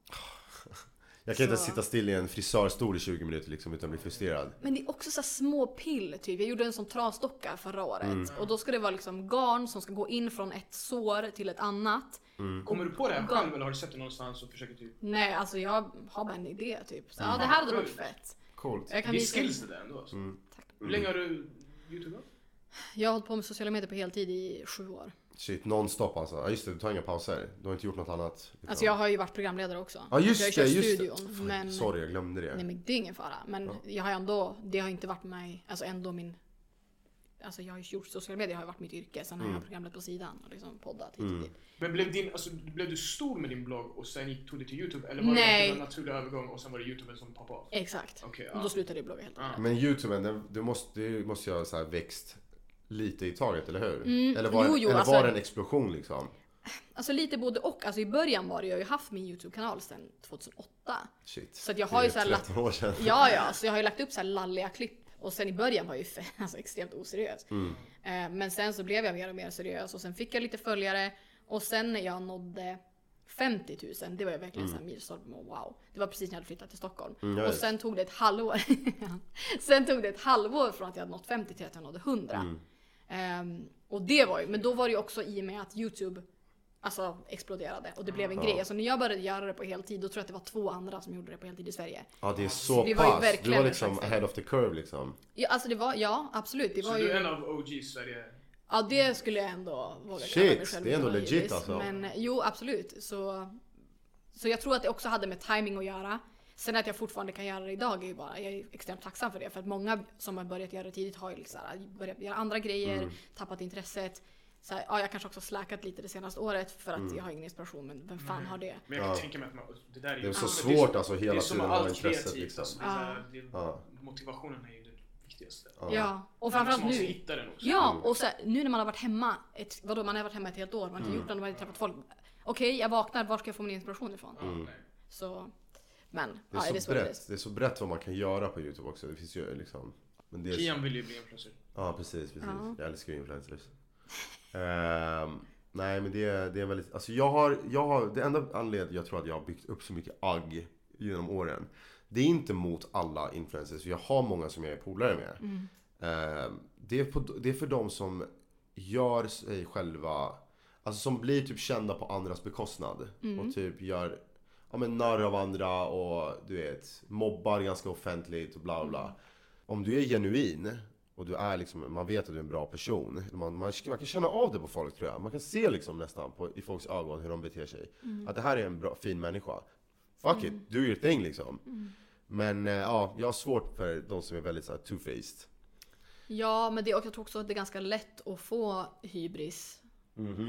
Speaker 2: Jag kan inte
Speaker 3: Så-
Speaker 2: sitta still i en frisörstol i 20 minuter liksom utan bli frustrerad.
Speaker 3: Men det är också så här små pill typ. Jag gjorde en sån trasdocka förra året.
Speaker 2: Mm.
Speaker 3: Och då ska det vara liksom garn som ska gå in från ett sår till ett annat.
Speaker 4: Kommer du på det här själv eller har du sett det någonstans och försöker typ...
Speaker 3: Nej, alltså jag har bara en idé typ. Så, Ja, det här hade varit fett.
Speaker 2: Coolt.
Speaker 3: Jag kan
Speaker 4: Det är
Speaker 3: visa-
Speaker 4: skills det där ändå alltså.
Speaker 2: Mm.
Speaker 4: Hur länge har du youtubat?
Speaker 3: Jag har hållit på med sociala medier på heltid i sju år.
Speaker 2: Shit, nonstop alltså. Ja just det, du tar inga pauser. Du har inte gjort något annat. liksom.
Speaker 3: Alltså jag har ju varit programledare också.
Speaker 2: Ja
Speaker 3: jag
Speaker 2: just
Speaker 3: har
Speaker 2: det,
Speaker 3: ju kört
Speaker 2: just
Speaker 3: studion.
Speaker 2: det. Fan,
Speaker 3: Men...
Speaker 2: Sorry, jag glömde det.
Speaker 3: Nej men det är ingen fara. Men jag har ju ändå, det har inte varit mig, alltså ändå min Alltså jag har ju gjort sociala medier, har ju varit mitt yrke. Sen har jag programmet på sidan och liksom poddat hit och dit.
Speaker 4: Men blev, din, alltså, blev du stor med din blogg och sen gick, tog du till Youtube? Eller var
Speaker 3: Nej.
Speaker 4: det en naturlig övergång och sen var det Youtube som poppade av?
Speaker 3: Exakt.
Speaker 4: Okej,
Speaker 3: och
Speaker 4: ja.
Speaker 3: då slutade jag blogga helt och hållet.
Speaker 2: Men youtuben, den, du måste ju måste ju ha så här växt lite i taget, eller hur?
Speaker 3: Mm,
Speaker 2: Eller var,
Speaker 3: jo,
Speaker 2: det-
Speaker 3: jo,
Speaker 2: eller
Speaker 3: alltså-
Speaker 2: var det en explosion liksom?
Speaker 3: Alltså lite både och. Alltså i början var det, jag har ju haft min YouTube-kanal sedan 2008.
Speaker 2: Shit.
Speaker 3: Så att jag har ju
Speaker 2: Det är
Speaker 3: så här latt-
Speaker 2: 13 år sedan.
Speaker 3: Ja, ja, så jag har ju lagt upp så här lalliga klipp. Och sen i början var jag ju fe- alltså, extremt oseriös. Eh, Men sen så blev jag mer och mer seriös och sen fick jag lite följare. Och sen när jag nådde 50 000, det var ju verkligen mm. milstolpe och wow. Det var precis när jag hade flyttat till Stockholm.
Speaker 2: Mm, ja,
Speaker 3: och
Speaker 2: just.
Speaker 3: sen tog det ett halvår. sen tog det ett halvår från att jag hade nått 50 till att jag nådde 100. Ehm, och det var ju, men då var det ju också i och med att YouTube Alltså exploderade och det blev en
Speaker 2: Ja.
Speaker 3: grej. Alltså när jag började göra det på heltid då tror jag att det var två andra som gjorde det på heltid i Sverige.
Speaker 2: Ja det är så
Speaker 3: Det var ju
Speaker 2: pass. du
Speaker 3: verkligen
Speaker 2: var
Speaker 3: en
Speaker 2: liksom
Speaker 3: slags-
Speaker 2: ahead of the curve liksom.
Speaker 3: Ja, alltså det var, ja absolut. Det
Speaker 4: Så
Speaker 3: var
Speaker 4: du är
Speaker 3: ju,
Speaker 4: en av OG Sverige?
Speaker 3: ja det skulle jag ändå våga
Speaker 2: Shit,
Speaker 3: kalla mig själv
Speaker 2: det är ändå
Speaker 3: för,
Speaker 2: legit,
Speaker 3: givetvis.
Speaker 2: alltså.
Speaker 3: Men eh, jo, absolut. Så, så jag tror att det också hade med timing att göra. Sen att jag fortfarande kan göra det idag är ju bara, jag är extremt tacksam för det. För att många som har börjat göra det tidigt har ju liksom så här, börjat göra andra grejer,
Speaker 2: Mm.
Speaker 3: tappat intresset. Så här, ja, jag kanske också släkat lite det senaste året för
Speaker 2: Mm.
Speaker 3: att jag har ingen inspiration, men vem fan
Speaker 4: Mm.
Speaker 3: har det?
Speaker 4: Men jag kan
Speaker 2: Ja.
Speaker 4: tänka mig att man, det där är ju...
Speaker 2: Det är så
Speaker 4: men
Speaker 2: svårt,
Speaker 4: som-
Speaker 2: alltså, hela
Speaker 4: det är som
Speaker 2: tiden
Speaker 4: med
Speaker 2: att ha
Speaker 4: allt
Speaker 2: intresset,
Speaker 4: kreativt,
Speaker 2: liksom.
Speaker 4: alltså, det är så här,
Speaker 3: Ja.
Speaker 4: det är-
Speaker 2: Ja.
Speaker 4: Motivationen är ju det viktigaste.
Speaker 3: Ja, och framförallt
Speaker 4: Man måste
Speaker 3: nu.
Speaker 4: hitta den också.
Speaker 2: Mm.
Speaker 3: Ja, och så här, nu när man har varit hemma, ett, vadå man har varit hemma ett helt år, man har
Speaker 2: Mm.
Speaker 3: inte gjort något, man har inte träffat folk. Okej, jag vaknar, var ska jag få min inspiration ifrån?
Speaker 4: Ja, nej.
Speaker 3: Så, men.
Speaker 2: Mm. Det är,
Speaker 3: ja, det är
Speaker 2: så
Speaker 3: så det är.
Speaker 2: brett. Det är så brett vad man kan göra på youtube också. Det finns ju liksom. Men det är
Speaker 4: Kian vill ju bli influencer.
Speaker 2: Ja precis, precis.
Speaker 3: Ja.
Speaker 2: Jag älskar ju influencers. Ehm, nej men det, är- det är väldigt, alltså jag har, jag har, det enda anledningen jag tror att jag har byggt upp så mycket agg genom åren. Det är inte mot alla influencers, för jag har många som jag är polare med. Ehm, det, är på, det är för de som gör sig själva, alltså som blir typ kända på andras bekostnad. Och typ gör, ja men narr av andra och du vet, mobbar ganska offentligt och bla bla. Om du är genuin och du är liksom, man vet att du är en bra person. Man, man, man kan känna av det på folk tror jag. Man kan se liksom nästan på, i folks ögon hur de beter sig. Att det här är en bra, fin människa. Fuck it, do your thing liksom. Men eh, ja, jag har svårt för de som är väldigt så här two-faced.
Speaker 3: Ja, men det, och jag tror också att det är ganska lätt att få hybris.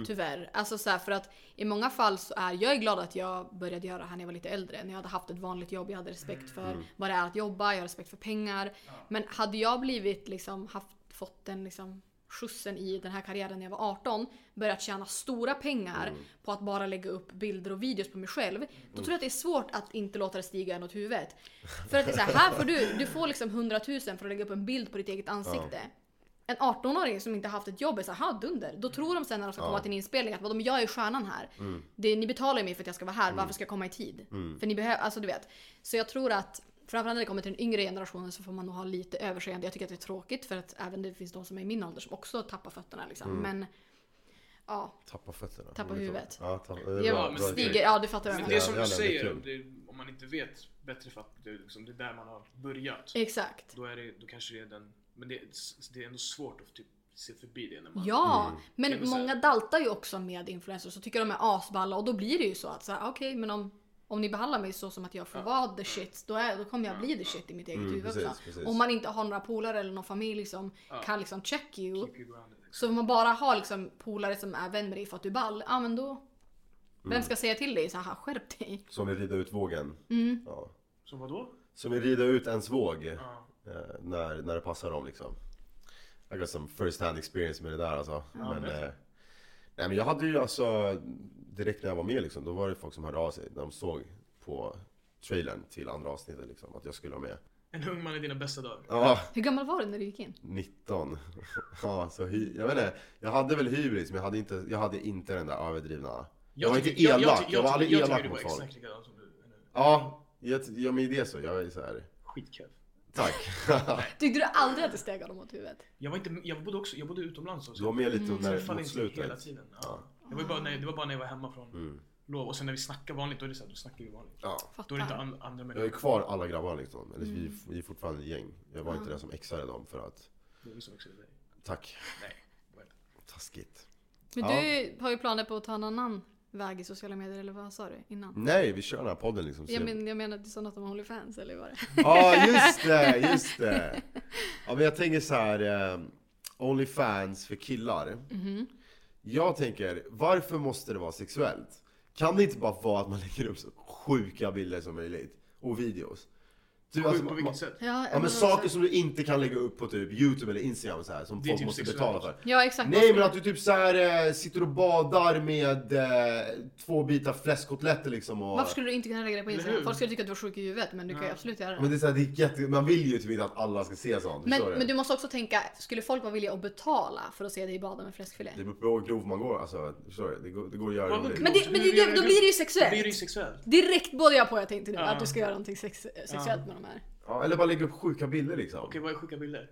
Speaker 3: Tyvärr. Alltså så här, för att i många fall så är jag är glad att jag började göra det här när jag var lite äldre. När jag hade haft ett vanligt jobb, jag hade respekt för vad det är att jobba, jag har respekt för pengar. Men hade jag blivit liksom haft, fått den liksom skjutsen i den här karriären när jag var 18, börjat tjäna stora pengar på att bara lägga upp bilder och videos på mig själv. Då tror jag att det är svårt att inte låta det stiga en åt huvudet. För att det är så här, här får du, du får liksom 100 000 för att lägga upp en bild på ditt eget ansikte. En 18-åring som inte haft ett jobb är så här, "Ha, dunder. Då tror de sen när de ska komma till en inspelning att vadå, men jag är stjärnan här.
Speaker 2: Mm.
Speaker 3: Det, ni betalar ju mig för att jag ska vara här, varför ska jag komma i tid? För ni behöver, alltså du vet. Så jag tror att Framförallt när det kommer till den yngre generationen så får man nog ha lite överseende. Jag tycker att det är tråkigt för att även det finns de som är i min ålder som också tappar fötterna liksom.
Speaker 2: Mm.
Speaker 3: Men ja,
Speaker 2: Tappa fötterna.
Speaker 3: Tappa huvudet.
Speaker 2: Ja, tappa, det är
Speaker 3: jag
Speaker 2: bra,
Speaker 4: men
Speaker 2: bra
Speaker 3: stiger.
Speaker 2: trick.
Speaker 3: Ja, du fattar vad jag
Speaker 4: Men
Speaker 2: Ja,
Speaker 4: det är
Speaker 3: menar.
Speaker 4: som
Speaker 2: jävlar, det är
Speaker 4: du säger,
Speaker 2: kul.
Speaker 4: om, det, om man inte vet bättre för att det, är liksom, det är där man har börjat.
Speaker 3: Exakt.
Speaker 4: Då, är det, då kanske det är den... Men det, är- det är ändå svårt att typ se förbi det när man...
Speaker 3: Ja,
Speaker 2: Mm.
Speaker 4: Det är
Speaker 3: men
Speaker 4: väl så här-
Speaker 3: många daltar ju också med influencers och tycker de är asballa och då blir det ju så att så här, ah, okej men om, om ni behandlar mig så som att jag får vara the shit då, är, då kommer jag bli the shit i mitt eget huvud
Speaker 2: Mm, precis,
Speaker 3: också.
Speaker 2: precis.
Speaker 3: Om man inte har några polare eller någon familj som kan liksom check you.
Speaker 4: Keep you grounded, liksom.
Speaker 3: Så om man bara har liksom polare som är vän med dig för att du är ball, ja men då.
Speaker 2: Mm.
Speaker 3: Vem ska säga till dig så här skärp dig?
Speaker 2: Som vill rida ut vågen. Ja.
Speaker 4: Så vadå?
Speaker 2: Som vill rida ut ens våg.
Speaker 4: Ja.
Speaker 2: Eh, när, när det passar dem liksom. I got some first hand experience med det där alltså. men, eh, nej, men jag hade ju alltså, direkt när jag var med liksom, då var det folk som hörde av sig. När de såg på trailern till andra avsnittet liksom, att jag skulle vara med.
Speaker 4: En ung man i dina bästa dagar.
Speaker 2: Ja,
Speaker 3: Hur gammal var du när du gick in?
Speaker 2: 19. ja, så hy- jag vet inte. Jag hade väl hybris, men jag hade inte, jag hade inte den där överdrivna. Jag, var
Speaker 4: tycker-
Speaker 2: inte elak, jag,
Speaker 4: tycker-
Speaker 2: var
Speaker 4: tycker-
Speaker 2: aldrig
Speaker 4: jag
Speaker 2: elak
Speaker 4: tycker
Speaker 2: mot
Speaker 4: du var
Speaker 2: folk.
Speaker 4: exakt likadan som du är nu.
Speaker 2: Ja, jag, ja, men det är så. Jag är så här.
Speaker 4: Skitkeff.
Speaker 2: Tack.
Speaker 3: Tyckte du aldrig att det steg honom åt huvudet?
Speaker 4: Jag var inte... Jag bodde också... Jag bodde utomlands också.
Speaker 2: Du var med lite
Speaker 4: Så jag
Speaker 2: under,
Speaker 4: faller
Speaker 2: mot
Speaker 4: Mm, inte hela
Speaker 2: slutet. Mm.
Speaker 4: tiden. Ja. Det, var ju bara när, det var bara när jag var hemma från lov och sen när vi snackar vanligt då är det så här, då snackar vi vanligt.
Speaker 2: Ja.
Speaker 4: Då är det inte
Speaker 3: Fattar.
Speaker 4: an, andra
Speaker 2: Jag är
Speaker 4: människor.
Speaker 2: kvar alla grabbar liksom. Eller vi, vi är fortfarande ett gäng. Jag var inte den som exade dem för att...
Speaker 4: Det är vi som växer dig.
Speaker 2: Tack.
Speaker 4: Nej. vad är det?
Speaker 2: Taskigt.
Speaker 3: Men
Speaker 2: Ja.
Speaker 3: du har ju planer på att ta en annan väg i sociala medier eller vad sa du innan?
Speaker 2: Nej, vi kör den här podden liksom.
Speaker 3: Jag,
Speaker 2: Så-
Speaker 3: men, jag menar, du sa något om Onlyfans eller vad det?
Speaker 2: Ja, just det, just det. Ja, men jag tänker så här. eh, Onlyfans för killar. Jag tänker, varför måste det vara sexuellt? Kan det inte bara vara att man lägger upp så sjuka bilder som möjligt? Och videos. Du,
Speaker 4: Sjukt
Speaker 2: alltså,
Speaker 4: på
Speaker 2: man-
Speaker 4: vilket sätt?
Speaker 3: Ja,
Speaker 2: Ja men
Speaker 3: men
Speaker 2: saker
Speaker 3: alltså-
Speaker 2: som du inte kan lägga upp på typ youtube eller instagram så här, som
Speaker 4: Det är
Speaker 2: folk
Speaker 4: typ
Speaker 2: måste
Speaker 4: sexuellt.
Speaker 2: betala för.
Speaker 3: Ja exakt.
Speaker 2: Nej men att du typ så här eh, sitter och badar med eh, två bitar fläskkotletter liksom och...
Speaker 3: Varför skulle du inte kunna lägga det på
Speaker 4: Eller
Speaker 3: Instagram?
Speaker 4: hur?
Speaker 3: Folk skulle tycka att du var sjuk i huvudet men du kan ju absolut göra det.
Speaker 2: Men det är så här, det är jätte... man vill ju typ inte att alla ska se sånt,
Speaker 3: Men,
Speaker 2: förstår du?
Speaker 3: men du måste också tänka, skulle folk vara villiga att betala för att se dig bada med fläskfilé?
Speaker 2: Det beror på hur grov man går alltså, förstår du? Det går, det går att göra
Speaker 4: Vadå
Speaker 2: roligt.
Speaker 4: grov?
Speaker 3: Men, det, men det, det, då blir det ju
Speaker 4: Det är
Speaker 3: sexuellt.
Speaker 4: ju sexuellt.
Speaker 3: Direkt både jag på jag tänkte nu,
Speaker 4: Ja.
Speaker 3: att du ska göra någonting sex, sexuellt med de här.
Speaker 2: Ja, eller bara lägga upp sjuka bilder liksom.
Speaker 4: Okej, vad är sjuka bilder?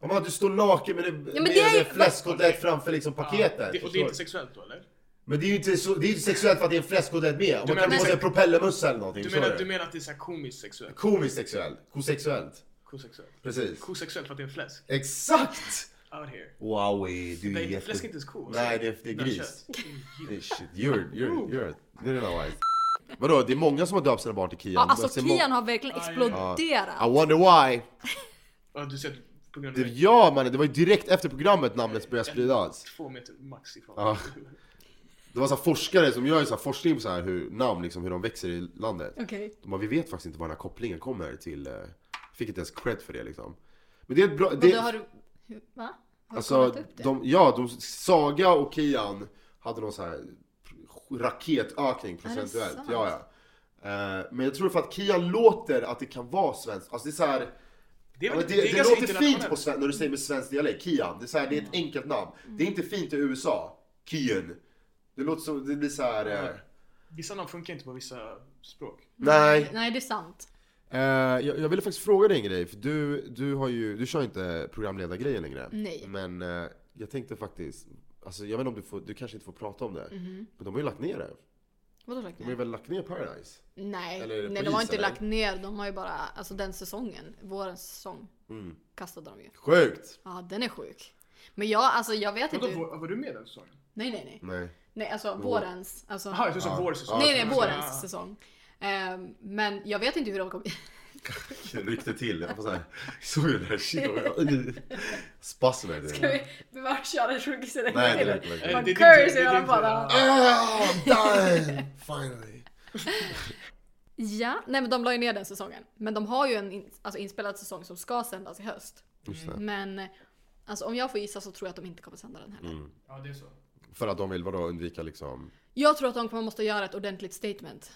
Speaker 2: Om att du står naken med, det,
Speaker 3: men
Speaker 2: med
Speaker 3: det är ju-
Speaker 2: en fläskkotlett framför liksom paketet.
Speaker 4: Ja, det, och
Speaker 2: förstår
Speaker 4: det är
Speaker 2: du?
Speaker 4: inte sexuellt då eller?
Speaker 2: men det är ju inte, så, det är ju inte sexuellt för att det är en fläskkotlett med. Om man
Speaker 4: menar-
Speaker 2: kan på sig en propellermössa eller någonting.
Speaker 4: Du
Speaker 2: förstår
Speaker 4: menar, du menar att det är så här komiskt sexuellt?
Speaker 2: Komiskt sexuellt. Kosexuellt.
Speaker 4: Kosexuellt?
Speaker 2: Precis.
Speaker 4: Kosexuellt för att det är en fläsk?
Speaker 2: Exakt!
Speaker 4: Out here.
Speaker 2: Wowie, du är
Speaker 4: Nej,
Speaker 2: jätte...
Speaker 4: fläsk är inte ens ko.
Speaker 2: Nej, det är, det är
Speaker 4: Nej,
Speaker 2: gris.
Speaker 4: kött.
Speaker 2: Det är Shit, you're, you're, you're, you're not wise. Vadå, det är många som har döpt sina barn till Kian.
Speaker 3: Ja, alltså
Speaker 2: Det är må-
Speaker 3: Kian har verkligen exploderat.
Speaker 2: I wonder why.
Speaker 4: Ja, du ser att på grund av
Speaker 2: Det,
Speaker 4: mig,
Speaker 2: ja mannen, det var ju direkt efter programmet namnet började spridas.
Speaker 4: två meter max ifrån.
Speaker 2: Ja. Det var så här forskare som gör ju så här forskning på så här hur namn, liksom, hur de växer i landet.
Speaker 3: Okej.
Speaker 2: De bara, vi vet faktiskt inte var den här kopplingen kommer till... eh, Fick inte ens cred för det liksom. Men det är ett bra...
Speaker 3: Och
Speaker 2: Det,
Speaker 3: då har du... hur- Va? Har du
Speaker 2: Alltså,
Speaker 3: kollat upp det?
Speaker 2: de, ja, de, Saga och Kian hade någon sån här raketökning procentuellt.
Speaker 3: sant?
Speaker 2: Ja, ja. Eh, men jag tror för att Kian låter att det kan vara svenskt. Alltså det är så här,
Speaker 4: Det, är
Speaker 2: ja,
Speaker 4: väl,
Speaker 2: men det,
Speaker 4: det, är
Speaker 2: det,
Speaker 4: ganska
Speaker 2: låter fint på sven- när du säger med svensk dialekt, Kian. Det är, så här, det är ett
Speaker 3: Mm.
Speaker 2: enkelt namn. Det är inte fint i USA, Kian. Det låter som, det blir så här. eh,
Speaker 4: Vissa namn funkar inte på vissa språk.
Speaker 2: nej.
Speaker 3: Nej det är sant.
Speaker 2: Eh, jag, jag ville faktiskt fråga dig en grej, för du, du, har ju, du kör ju inte programledargrejen längre.
Speaker 3: Nej.
Speaker 2: Men eh, jag tänkte faktiskt, alltså, jag vet inte om du, får, du kanske inte får prata om det, men de har ju lagt ner det.
Speaker 3: Mhm. Vadå lagt
Speaker 2: De har ju
Speaker 3: ner?
Speaker 2: väl lagt ner Paradise?
Speaker 3: Nej,
Speaker 2: Eller är det
Speaker 3: nej de har
Speaker 2: polis,
Speaker 3: inte
Speaker 2: eller?
Speaker 3: lagt ner. De har ju bara, alltså den säsongen, vårens säsong, kastade de ju.
Speaker 2: Sjukt!
Speaker 3: Ja den är sjuk. Men jag, alltså jag vet
Speaker 4: Vadå,
Speaker 3: inte.
Speaker 4: var, var du med den säsongen?
Speaker 3: Nej nej nej.
Speaker 2: Nej.
Speaker 3: Nej alltså vårens. Alltså,
Speaker 4: Jaha, jag trodde
Speaker 2: Ja.
Speaker 4: ja. vår säsong.
Speaker 3: nej nej vårens
Speaker 4: Ja.
Speaker 3: säsong. Ehm, men jag vet inte hur de kom
Speaker 2: Jag ryckte till, jag var såhär, såg du det här? Shit, vad- Spasm är
Speaker 3: Ska
Speaker 2: det.
Speaker 3: vi bara köra en sjukis eller
Speaker 2: Nej, det räcker, det
Speaker 4: Eh,
Speaker 2: räcker.
Speaker 3: Fan,
Speaker 4: det är din
Speaker 3: curse
Speaker 4: tur, det är
Speaker 3: i
Speaker 4: din
Speaker 3: alla fall,
Speaker 4: tur.
Speaker 3: ja.
Speaker 2: Ah, I'm dying! Finally!
Speaker 3: Ja, nej men de la ju ner den säsongen. Men de har ju en in, alltså inspelad säsong som ska sändas i höst.
Speaker 2: Just det.
Speaker 3: Men alltså, om jag får gissa så tror jag att de inte kommer sända den heller.
Speaker 2: Mm.
Speaker 4: Ja, det är
Speaker 3: Alltså,
Speaker 4: så.
Speaker 2: För att de vill vadå, undvika liksom...
Speaker 3: Jag tror att de kommer måste göra ett ordentligt statement.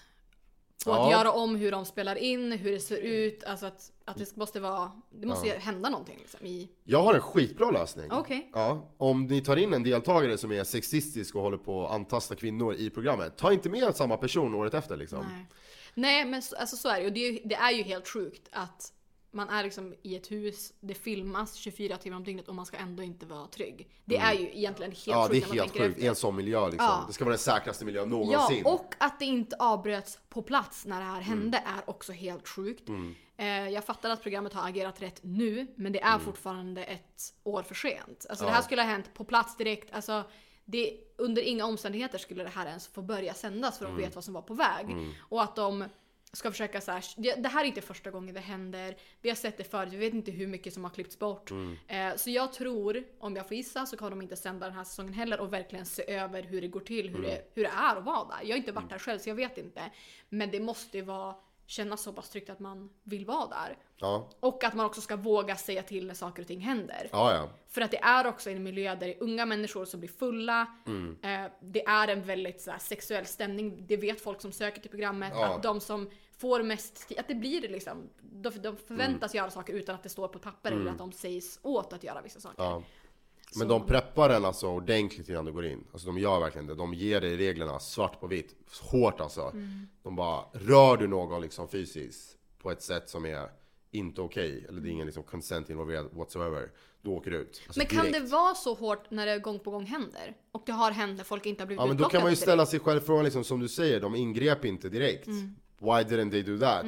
Speaker 3: På
Speaker 2: Ja.
Speaker 3: att göra om hur de spelar in, hur det ser ut, alltså att, att det måste vara, det måste ju hända någonting liksom i...
Speaker 2: Jag har en skitbra lösning.
Speaker 3: Okej.
Speaker 2: Ja, om ni tar in en deltagare som är sexistisk och håller på att antasta kvinnor i programmet, ta inte med samma person året efter liksom.
Speaker 3: Nej. Nej men så, alltså, så är det ju. Det är ju. Det är ju helt sjukt att man är liksom i ett hus, det filmas 24 timmar om dygnet och man ska ändå inte vara trygg. Det är ju egentligen helt
Speaker 2: Mm. ja, det
Speaker 3: sjukt
Speaker 2: är helt
Speaker 3: tänker
Speaker 2: sjukt. I en sån miljö liksom.
Speaker 3: Ja.
Speaker 2: Det ska vara den säkraste miljön
Speaker 3: Ja,
Speaker 2: någonsin.
Speaker 3: och att det inte avbröts på plats när det
Speaker 2: Mm.
Speaker 3: här hände är också helt sjukt. Eh, jag fattar att programmet har agerat rätt nu, men det är
Speaker 2: Mm.
Speaker 3: fortfarande ett år för sent. Alltså det här skulle ha hänt på plats direkt. Alltså, det, under inga omständigheter skulle det här ens få börja sändas för de
Speaker 2: Mm.
Speaker 3: vet vad som var på väg. Och att de ska försöka så här, det, det här är inte första gången det händer. Vi har sett det förut, vi vet inte hur mycket som har klippts bort. Eh, så jag tror, om jag får gissa, så kommer de inte sända den här säsongen heller och verkligen se över hur det går till, hur, det, hur det är att vara där. Jag har inte varit där själv så jag vet inte. Men det måste ju vara, kännas så pass tryggt att man vill vara där.
Speaker 2: Ja,
Speaker 3: Och att man också ska våga säga till när saker och ting händer.
Speaker 2: ja. ja.
Speaker 3: För att det är också en miljö där det är unga människor som blir fulla.
Speaker 2: Mm.
Speaker 3: Eh, det är en väldigt så här, sexuell stämning. Det vet folk som söker till programmet.
Speaker 2: Ja.
Speaker 3: Att de som får mest tid, att det blir liksom, de, de förväntas
Speaker 2: Mm.
Speaker 3: göra saker utan att det står på ett papper eller att de sägs åt att göra vissa saker.
Speaker 2: Ja. Men de preppar en alltså ordentligt innan du går in. Alltså de gör verkligen det. De ger dig reglerna svart på vitt. Hårt alltså.
Speaker 3: Mm.
Speaker 2: De bara, rör du någon liksom fysiskt på ett sätt som är inte okej, eller det är ingen liksom consent involverad whatsoever, då åker du ut. Alltså
Speaker 3: Men kan
Speaker 2: direkt.
Speaker 3: det vara så hårt när det gång på gång händer? Och det har hänt när folk inte har blivit
Speaker 2: Ja men då kan
Speaker 3: utplockade
Speaker 2: man ju
Speaker 3: direkt.
Speaker 2: ställa sig själv frågan liksom, som du säger, de ingrep inte direkt.
Speaker 3: Mm.
Speaker 2: Why didn't they do that?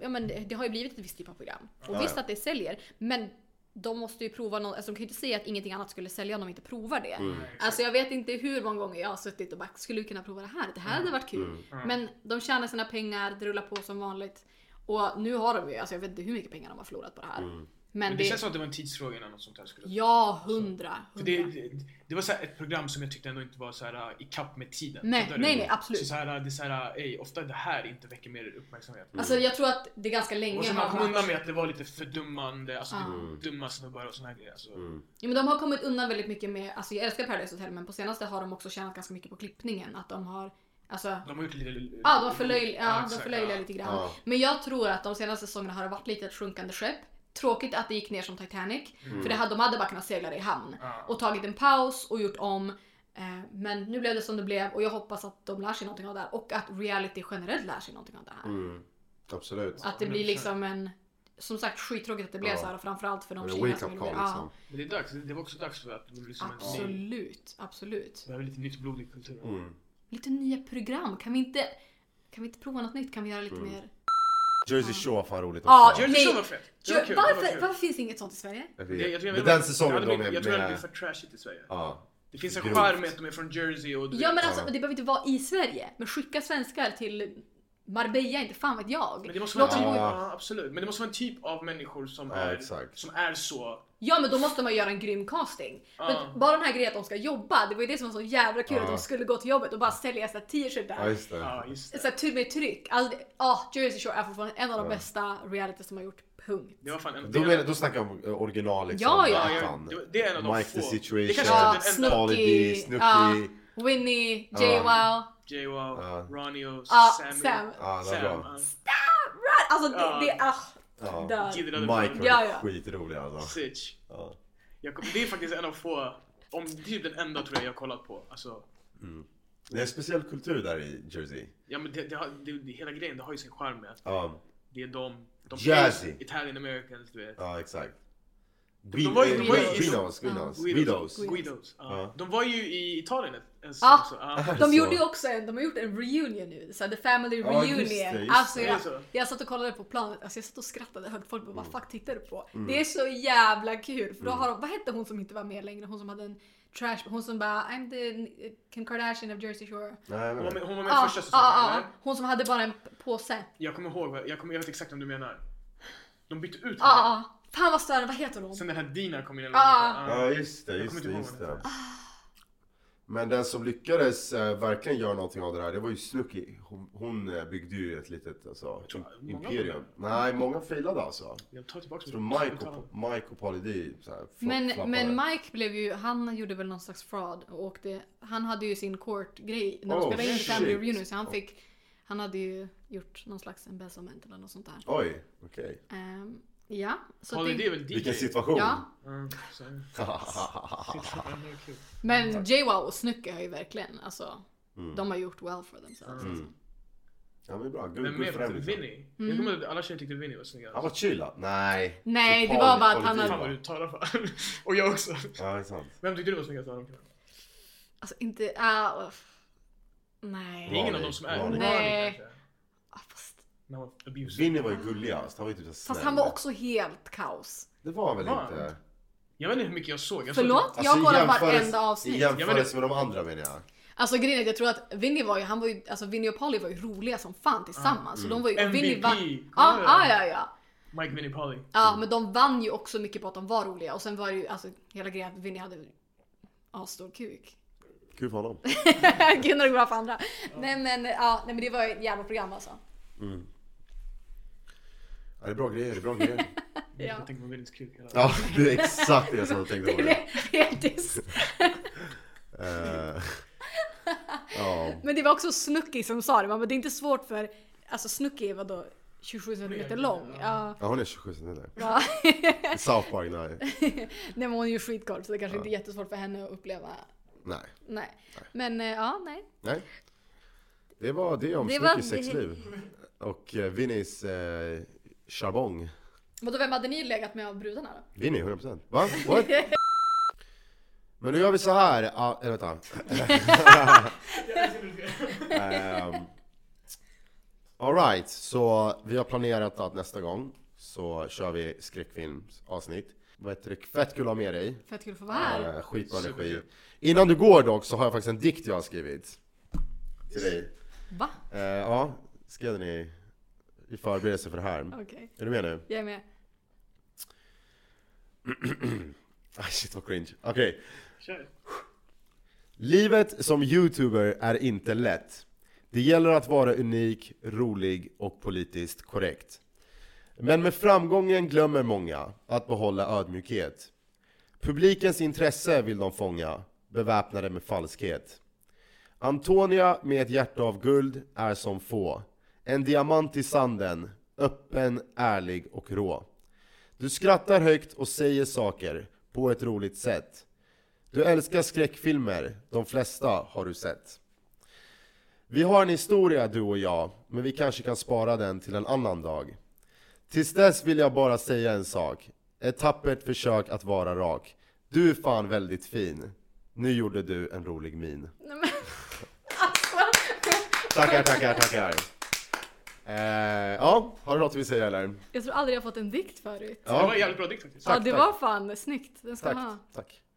Speaker 3: ja, men det, det har ju blivit ett visst typ av program. Och visst att det säljer, men de måste ju prova något, alltså de kan ju inte säga att ingenting annat skulle sälja om de inte provar det.
Speaker 2: Mm.
Speaker 3: Alltså jag vet inte hur många gånger jag har suttit och bara, skulle vi kunna prova det här? Det här hade varit kul.
Speaker 4: Mm.
Speaker 3: Men de tjänar sina pengar, det rullar på som vanligt. Och nu har de ju, alltså jag vet inte hur mycket pengar de har förlorat på det här. Men
Speaker 4: Men det
Speaker 3: det...
Speaker 4: känns som att det var en tidsfråga innan något sånt här skulle
Speaker 3: Ja, hundra.
Speaker 4: För det,
Speaker 3: hundra.
Speaker 4: det, det var så här ett program som jag tyckte ändå inte var så här uh, i kapp med tiden.
Speaker 3: Nej,
Speaker 4: Fattar du?
Speaker 3: nej, nej, absolut.
Speaker 4: Så, så här, uh, det är så här, uh, ey, ofta det här inte väcker mer uppmärksamhet.
Speaker 3: Alltså jag tror att det ganska
Speaker 4: Och
Speaker 3: länge
Speaker 4: så man
Speaker 3: har
Speaker 4: kom
Speaker 3: varit...
Speaker 4: undan med att det var lite fördummande, alltså
Speaker 3: Ah.
Speaker 4: det var dumma snubbar och såna här grejer. Alltså.
Speaker 2: Mm.
Speaker 3: Ja, men de har kommit undan väldigt mycket med, alltså jag älskar Paradise Hotel men på senaste har de också tjänat ganska mycket på klippningen. Att de har, alltså
Speaker 4: De har gjort lite...
Speaker 3: Ja, de förlöjligar ja, de
Speaker 4: exakt,
Speaker 3: förlöjligar
Speaker 4: ja.
Speaker 3: lite grann.
Speaker 2: Ja.
Speaker 3: Men jag tror att de senaste säsongerna har det varit lite ett sjunkande skepp. Tråkigt att det gick ner som Titanic. För
Speaker 2: Mm.
Speaker 3: det hade, de hade bara kunnat segla det i hamn.
Speaker 4: Ja.
Speaker 3: Och tagit en paus och gjort om. Eh, Men nu blev det som det blev och jag hoppas att de lär sig någonting av det här. Och att reality generellt lär sig någonting av det här.
Speaker 2: Mm. Absolut.
Speaker 3: Att det blir
Speaker 4: 100%.
Speaker 3: liksom en... Som sagt skittråkigt att det blev
Speaker 2: Ja.
Speaker 3: så här och framförallt för de
Speaker 2: Men en
Speaker 3: tjejerna som
Speaker 2: wake-up
Speaker 3: vill
Speaker 2: call
Speaker 3: bli- ja,
Speaker 2: liksom.
Speaker 4: Men det är dags, det det var också dags för att det blev som en ny...
Speaker 3: Absolut, absolut.
Speaker 4: Behöver lite nytt blod i kulturen.
Speaker 2: Mm.
Speaker 3: Lite nya program, kan vi inte... Kan vi inte prova något nytt? Kan vi göra lite
Speaker 2: Mm.
Speaker 3: mer...
Speaker 2: Jersey Shore var fan roligt
Speaker 3: Ja,
Speaker 2: också.
Speaker 4: Jersey
Speaker 3: Nej.
Speaker 4: Shore var fett! Det var
Speaker 3: Gör,
Speaker 4: kul, det var
Speaker 3: varför,
Speaker 4: kul.
Speaker 3: varför finns inget sånt i Sverige?
Speaker 2: Jag
Speaker 4: Jag- jag-
Speaker 2: vet.
Speaker 4: jag-
Speaker 2: Men den säsongen
Speaker 4: jag
Speaker 2: då
Speaker 4: hade-
Speaker 2: med...
Speaker 4: Jag tror det blir
Speaker 2: med
Speaker 4: för trashigt i Sverige.
Speaker 2: ja.
Speaker 4: Det finns en
Speaker 2: Grovt.
Speaker 4: charm med att de är från Jersey och...
Speaker 3: Ja men alltså
Speaker 2: Ja.
Speaker 3: det behöver inte vara i Sverige. Men skicka svenskar till Marbella, inte fan vet jag.
Speaker 4: Men det måste vara
Speaker 3: Låt
Speaker 4: en
Speaker 3: dem
Speaker 4: typ,
Speaker 3: bo i-
Speaker 2: Ja.
Speaker 4: ja, absolut. Men det måste vara en typ av människor som,
Speaker 2: Ja,
Speaker 4: är,
Speaker 2: exakt.
Speaker 4: som är så.
Speaker 3: Ja men då måste man göra en grym casting.
Speaker 4: Ja.
Speaker 3: Men bara den här grejen att de ska jobba, det var ju det som var så jävla kul
Speaker 2: Ja.
Speaker 3: att de skulle gå till jobbet och bara sälja såhär t-shirt
Speaker 2: ja,
Speaker 3: där.
Speaker 2: just det.
Speaker 4: Ja, just
Speaker 3: Såhär
Speaker 4: det.
Speaker 3: tur med tryck. Alltså, det- ja, Jersey Shore är fortfarande en av de
Speaker 2: Ja.
Speaker 3: bästa realities som har gjort, punkt.
Speaker 4: Det var fan en...
Speaker 2: Då,
Speaker 4: det är
Speaker 2: menar,
Speaker 4: en-
Speaker 2: då snackar jag om eh, original liksom.
Speaker 3: Ja, ja.
Speaker 4: ja,
Speaker 2: ettan.
Speaker 4: jag, det var- det är en av de
Speaker 2: Mike
Speaker 4: få.
Speaker 2: the Situation.
Speaker 4: Det kanske
Speaker 3: Ja,
Speaker 4: är den enda.
Speaker 2: Snoop. Holiday,
Speaker 3: Snooki,
Speaker 2: Snooki.
Speaker 3: ja, Winnie, Jay
Speaker 2: Ja.
Speaker 3: Wow.
Speaker 4: J-Wow,
Speaker 2: Ja.
Speaker 4: Ronnie och
Speaker 3: Ja,
Speaker 4: Sammy.
Speaker 3: Sam.
Speaker 2: Ja, det
Speaker 4: Sam,
Speaker 2: var bra.
Speaker 3: Right, Alltså det,
Speaker 4: Ja.
Speaker 3: det, ah,
Speaker 2: Ja.
Speaker 4: ja.
Speaker 3: dör.
Speaker 4: Gillade
Speaker 2: Mike var
Speaker 4: Mike.
Speaker 3: Ja, ja.
Speaker 2: skitrolig alltså.
Speaker 4: Sitch.
Speaker 2: Ja.
Speaker 4: Jag kom, det är faktiskt en av få, om typ den enda tror jag jag har kollat på. Alltså,
Speaker 2: Det är en speciell kultur där i Jersey.
Speaker 4: ja men det, det, har, det, det, hela grejen, det har ju sin charm med att
Speaker 2: Ja,
Speaker 4: det är de, de
Speaker 2: Jersey.
Speaker 4: Italian Americans, du vet.
Speaker 2: ja exakt.
Speaker 4: de var ju- de var ju-
Speaker 2: Guidos, Guidos,
Speaker 4: Guidos.
Speaker 2: Alltså, Guidos.
Speaker 4: Guidos. Ja.
Speaker 2: Ja.
Speaker 4: De var ju i Italien ett- en
Speaker 3: Ja.
Speaker 4: säsong också. Ja.
Speaker 3: De
Speaker 2: Så.
Speaker 3: gjorde ju också en, de har gjort en reunion nu, så här, the family
Speaker 2: Ja, just
Speaker 3: reunion.
Speaker 2: det, just
Speaker 3: alltså,
Speaker 4: det.
Speaker 3: jag,
Speaker 4: Det är så.
Speaker 3: jag satt och kollade på planet, alltså, jag satt och skrattade högt. Folk bara, vad
Speaker 2: Mm.
Speaker 3: fuck tittar du på? Det är så jävla kul. För då har de, vad hette hon som inte var med längre? Hon som hade en trash, hon som bara, I'm the Kim Kardashian of Jersey Shore. Ah,
Speaker 2: Nej,
Speaker 4: Hon var
Speaker 2: men,
Speaker 4: med, hon var med
Speaker 3: Ja,
Speaker 4: första
Speaker 3: ja,
Speaker 4: säsongen
Speaker 3: ja.
Speaker 4: eller?
Speaker 3: Hon som hade bara en p- påse.
Speaker 4: Jag kommer ihåg, vad- jag, kommer, jag vet exakt vem du menar. De bytte ut
Speaker 3: Ja,
Speaker 4: henne.
Speaker 3: ja. Fan vad störande, vad heter hon?
Speaker 4: Sen den här Dina kom in eller
Speaker 3: Ja,
Speaker 4: något.
Speaker 2: ja, just det,
Speaker 4: Jag
Speaker 2: just
Speaker 4: kommer
Speaker 2: det,
Speaker 4: inte ihåg
Speaker 2: just
Speaker 4: vad den
Speaker 2: det. Ah. Men den som lyckades eh, verkligen göra någonting av det här, det var ju Snooki. Hon, hon eh, byggde ju ett litet alltså,
Speaker 4: tror-
Speaker 2: im-
Speaker 4: många
Speaker 2: imperium. Nej, många failade alltså.
Speaker 4: Jag tar tillbaka
Speaker 2: Jag tror Mike och, Mike och Pauly D så här, fl-
Speaker 3: Men,
Speaker 2: flappade.
Speaker 3: men Mike blev ju, han gjorde väl någon slags fraud och åkte, han hade ju sin court-grej när de
Speaker 2: Oh,
Speaker 3: spelade in Family
Speaker 2: shit.
Speaker 3: Reunion så han fick, han hade ju gjort någon slags embezzlement eller något sånt där.
Speaker 2: Oj, okej.
Speaker 3: Ehm, ja, så
Speaker 4: Pauly D
Speaker 3: det,
Speaker 4: är väl DJ?
Speaker 2: Vilken Ah. situation.
Speaker 3: Ja.
Speaker 4: Mm, så- det är kul.
Speaker 3: men J-Wow och Snooki har ju verkligen, alltså, de har gjort well for themselves.
Speaker 2: Mm. Ja men bra, good,
Speaker 4: Vem
Speaker 2: good
Speaker 4: mer
Speaker 2: för dem
Speaker 4: var
Speaker 2: liksom.
Speaker 4: Vinny? Jag
Speaker 3: Mm.
Speaker 4: kommer ihåg att alla tjejer tyckte Vinny var snyggast.
Speaker 2: Han var chillad. Nej.
Speaker 3: Nej,
Speaker 2: Så
Speaker 3: det var
Speaker 2: Pauly-
Speaker 3: bara att
Speaker 2: Pauly
Speaker 3: han
Speaker 2: D
Speaker 4: Fan
Speaker 2: var-
Speaker 4: vad du talar för. och jag också.
Speaker 2: Ja, det är sant.
Speaker 4: Vem tyckte du var snyggast av dem?
Speaker 3: Alltså inte, ah, uff.
Speaker 4: Det är
Speaker 3: nej.
Speaker 4: ingen av
Speaker 2: Ronny.
Speaker 4: dem som är.
Speaker 2: Ronny.
Speaker 3: Nej.
Speaker 4: kanske.
Speaker 3: Ah, Fast,
Speaker 4: Men han var abusive.
Speaker 2: Vinny var ju gulligast. Han var ju typ så snäll.
Speaker 3: fast han var också helt kaos.
Speaker 2: Det var väl
Speaker 4: Var
Speaker 2: inte...
Speaker 4: han? Jag vet inte hur mycket jag såg. typ- Jag såg
Speaker 3: Förlåt? Jag
Speaker 2: Alltså,
Speaker 3: har
Speaker 2: i
Speaker 3: kollat
Speaker 2: jämförelse-
Speaker 3: varenda
Speaker 2: I
Speaker 3: avsnitt.
Speaker 2: jämförelse med de andra menar jag.
Speaker 3: Alltså grejen är att jag tror att Vinny var ju, han var ju, alltså Vinny och Polly var ju roliga som fan tillsammans. Så de var ju, och Vinny
Speaker 4: MVP,
Speaker 3: vann, ja,
Speaker 4: kommer du
Speaker 3: ja, Mm.
Speaker 4: ihåg?
Speaker 3: ja, ja.
Speaker 4: Mike Vinny Polly.
Speaker 3: Ja, men de vann ju också mycket på att de var roliga. Och sen var det ju, alltså hela grejen att Vinny hade asstor kuk.
Speaker 2: Kul för honom.
Speaker 3: Gud när det går bra för andra. Nej men, ja, nej men det var ju ett jävla program alltså.
Speaker 2: Ja, det är bra grejer, det är bra grejer.
Speaker 3: Ja.
Speaker 4: Jag tänker på Vinnys kuk hela
Speaker 2: ja, det är exakt det som jag tänkte
Speaker 3: Det
Speaker 2: på.
Speaker 3: blev helt tyst.
Speaker 2: Eh, ja.
Speaker 3: Men det var också Snooki som sa det, man bara, det är inte svårt för, alltså Snooki var då 27 centimeter lång. Ja,
Speaker 2: ja, hon är 27 centimeter.
Speaker 3: ja.
Speaker 2: South Park, nej.
Speaker 3: Nej men hon är ju skitkort så det kanske inte är jättesvårt för henne att uppleva.
Speaker 2: Nej.
Speaker 3: Nej. Men eh, ja, nej.
Speaker 2: nej. Det var det om
Speaker 3: Det var-
Speaker 2: Snookys sexliv. Och eh, Vinnys eh, charbong.
Speaker 3: Vadå, vem hade ni legat med av brudarna då?
Speaker 2: Vinny, 100%. Va? What? Men nu gör vi så här. ah, Eller vänta. Ehm, all right, så vi har planerat att nästa gång så kör vi skräckfilmsavsnitt. Vad heter det? Fett kul att ha med dig.
Speaker 3: Fett kul att få vara här.
Speaker 2: Eh, Skitbra energi.
Speaker 4: Superkul.
Speaker 2: Innan du går dock så har jag faktiskt en dikt jag har skrivit. Till dig.
Speaker 3: Va?
Speaker 2: Eh, ja, skrev den i, i förberedelse för det här.
Speaker 3: Okej,
Speaker 2: Är du med nu?
Speaker 3: jag är med.
Speaker 2: Ah, shit vad cringe. Okej.
Speaker 4: Kör.
Speaker 2: Livet som youtuber är inte lätt. Det gäller att vara unik, rolig och politiskt korrekt. Men med framgången glömmer många att behålla ödmjukhet. Publikens intresse vill de fånga, beväpnade med falskhet. Antonia med ett hjärta av guld är som få. En diamant i sanden, öppen, ärlig och rå. Du skrattar högt och säger saker på ett roligt sätt. Du älskar skräckfilmer, de flesta har du sett. Vi har en historia du och jag, men vi kanske kan spara den till en annan dag. Tills dess vill jag bara säga en sak. Ett tappert försök att vara rak. Du är fan väldigt fin. Nu gjorde du en rolig min.
Speaker 3: Nej, men, alltså,
Speaker 2: Tackar, tackar, tackar. Eh, ja, har du något du vill säga eller?
Speaker 3: jag tror aldrig jag fått en dikt förut.
Speaker 4: Det var
Speaker 2: Ja,
Speaker 4: en jävligt bra dikt faktiskt.
Speaker 3: Ja,
Speaker 2: tack,
Speaker 3: det
Speaker 2: tack.
Speaker 3: var fan snyggt. Den ska
Speaker 2: tack.
Speaker 3: ha.
Speaker 2: tack.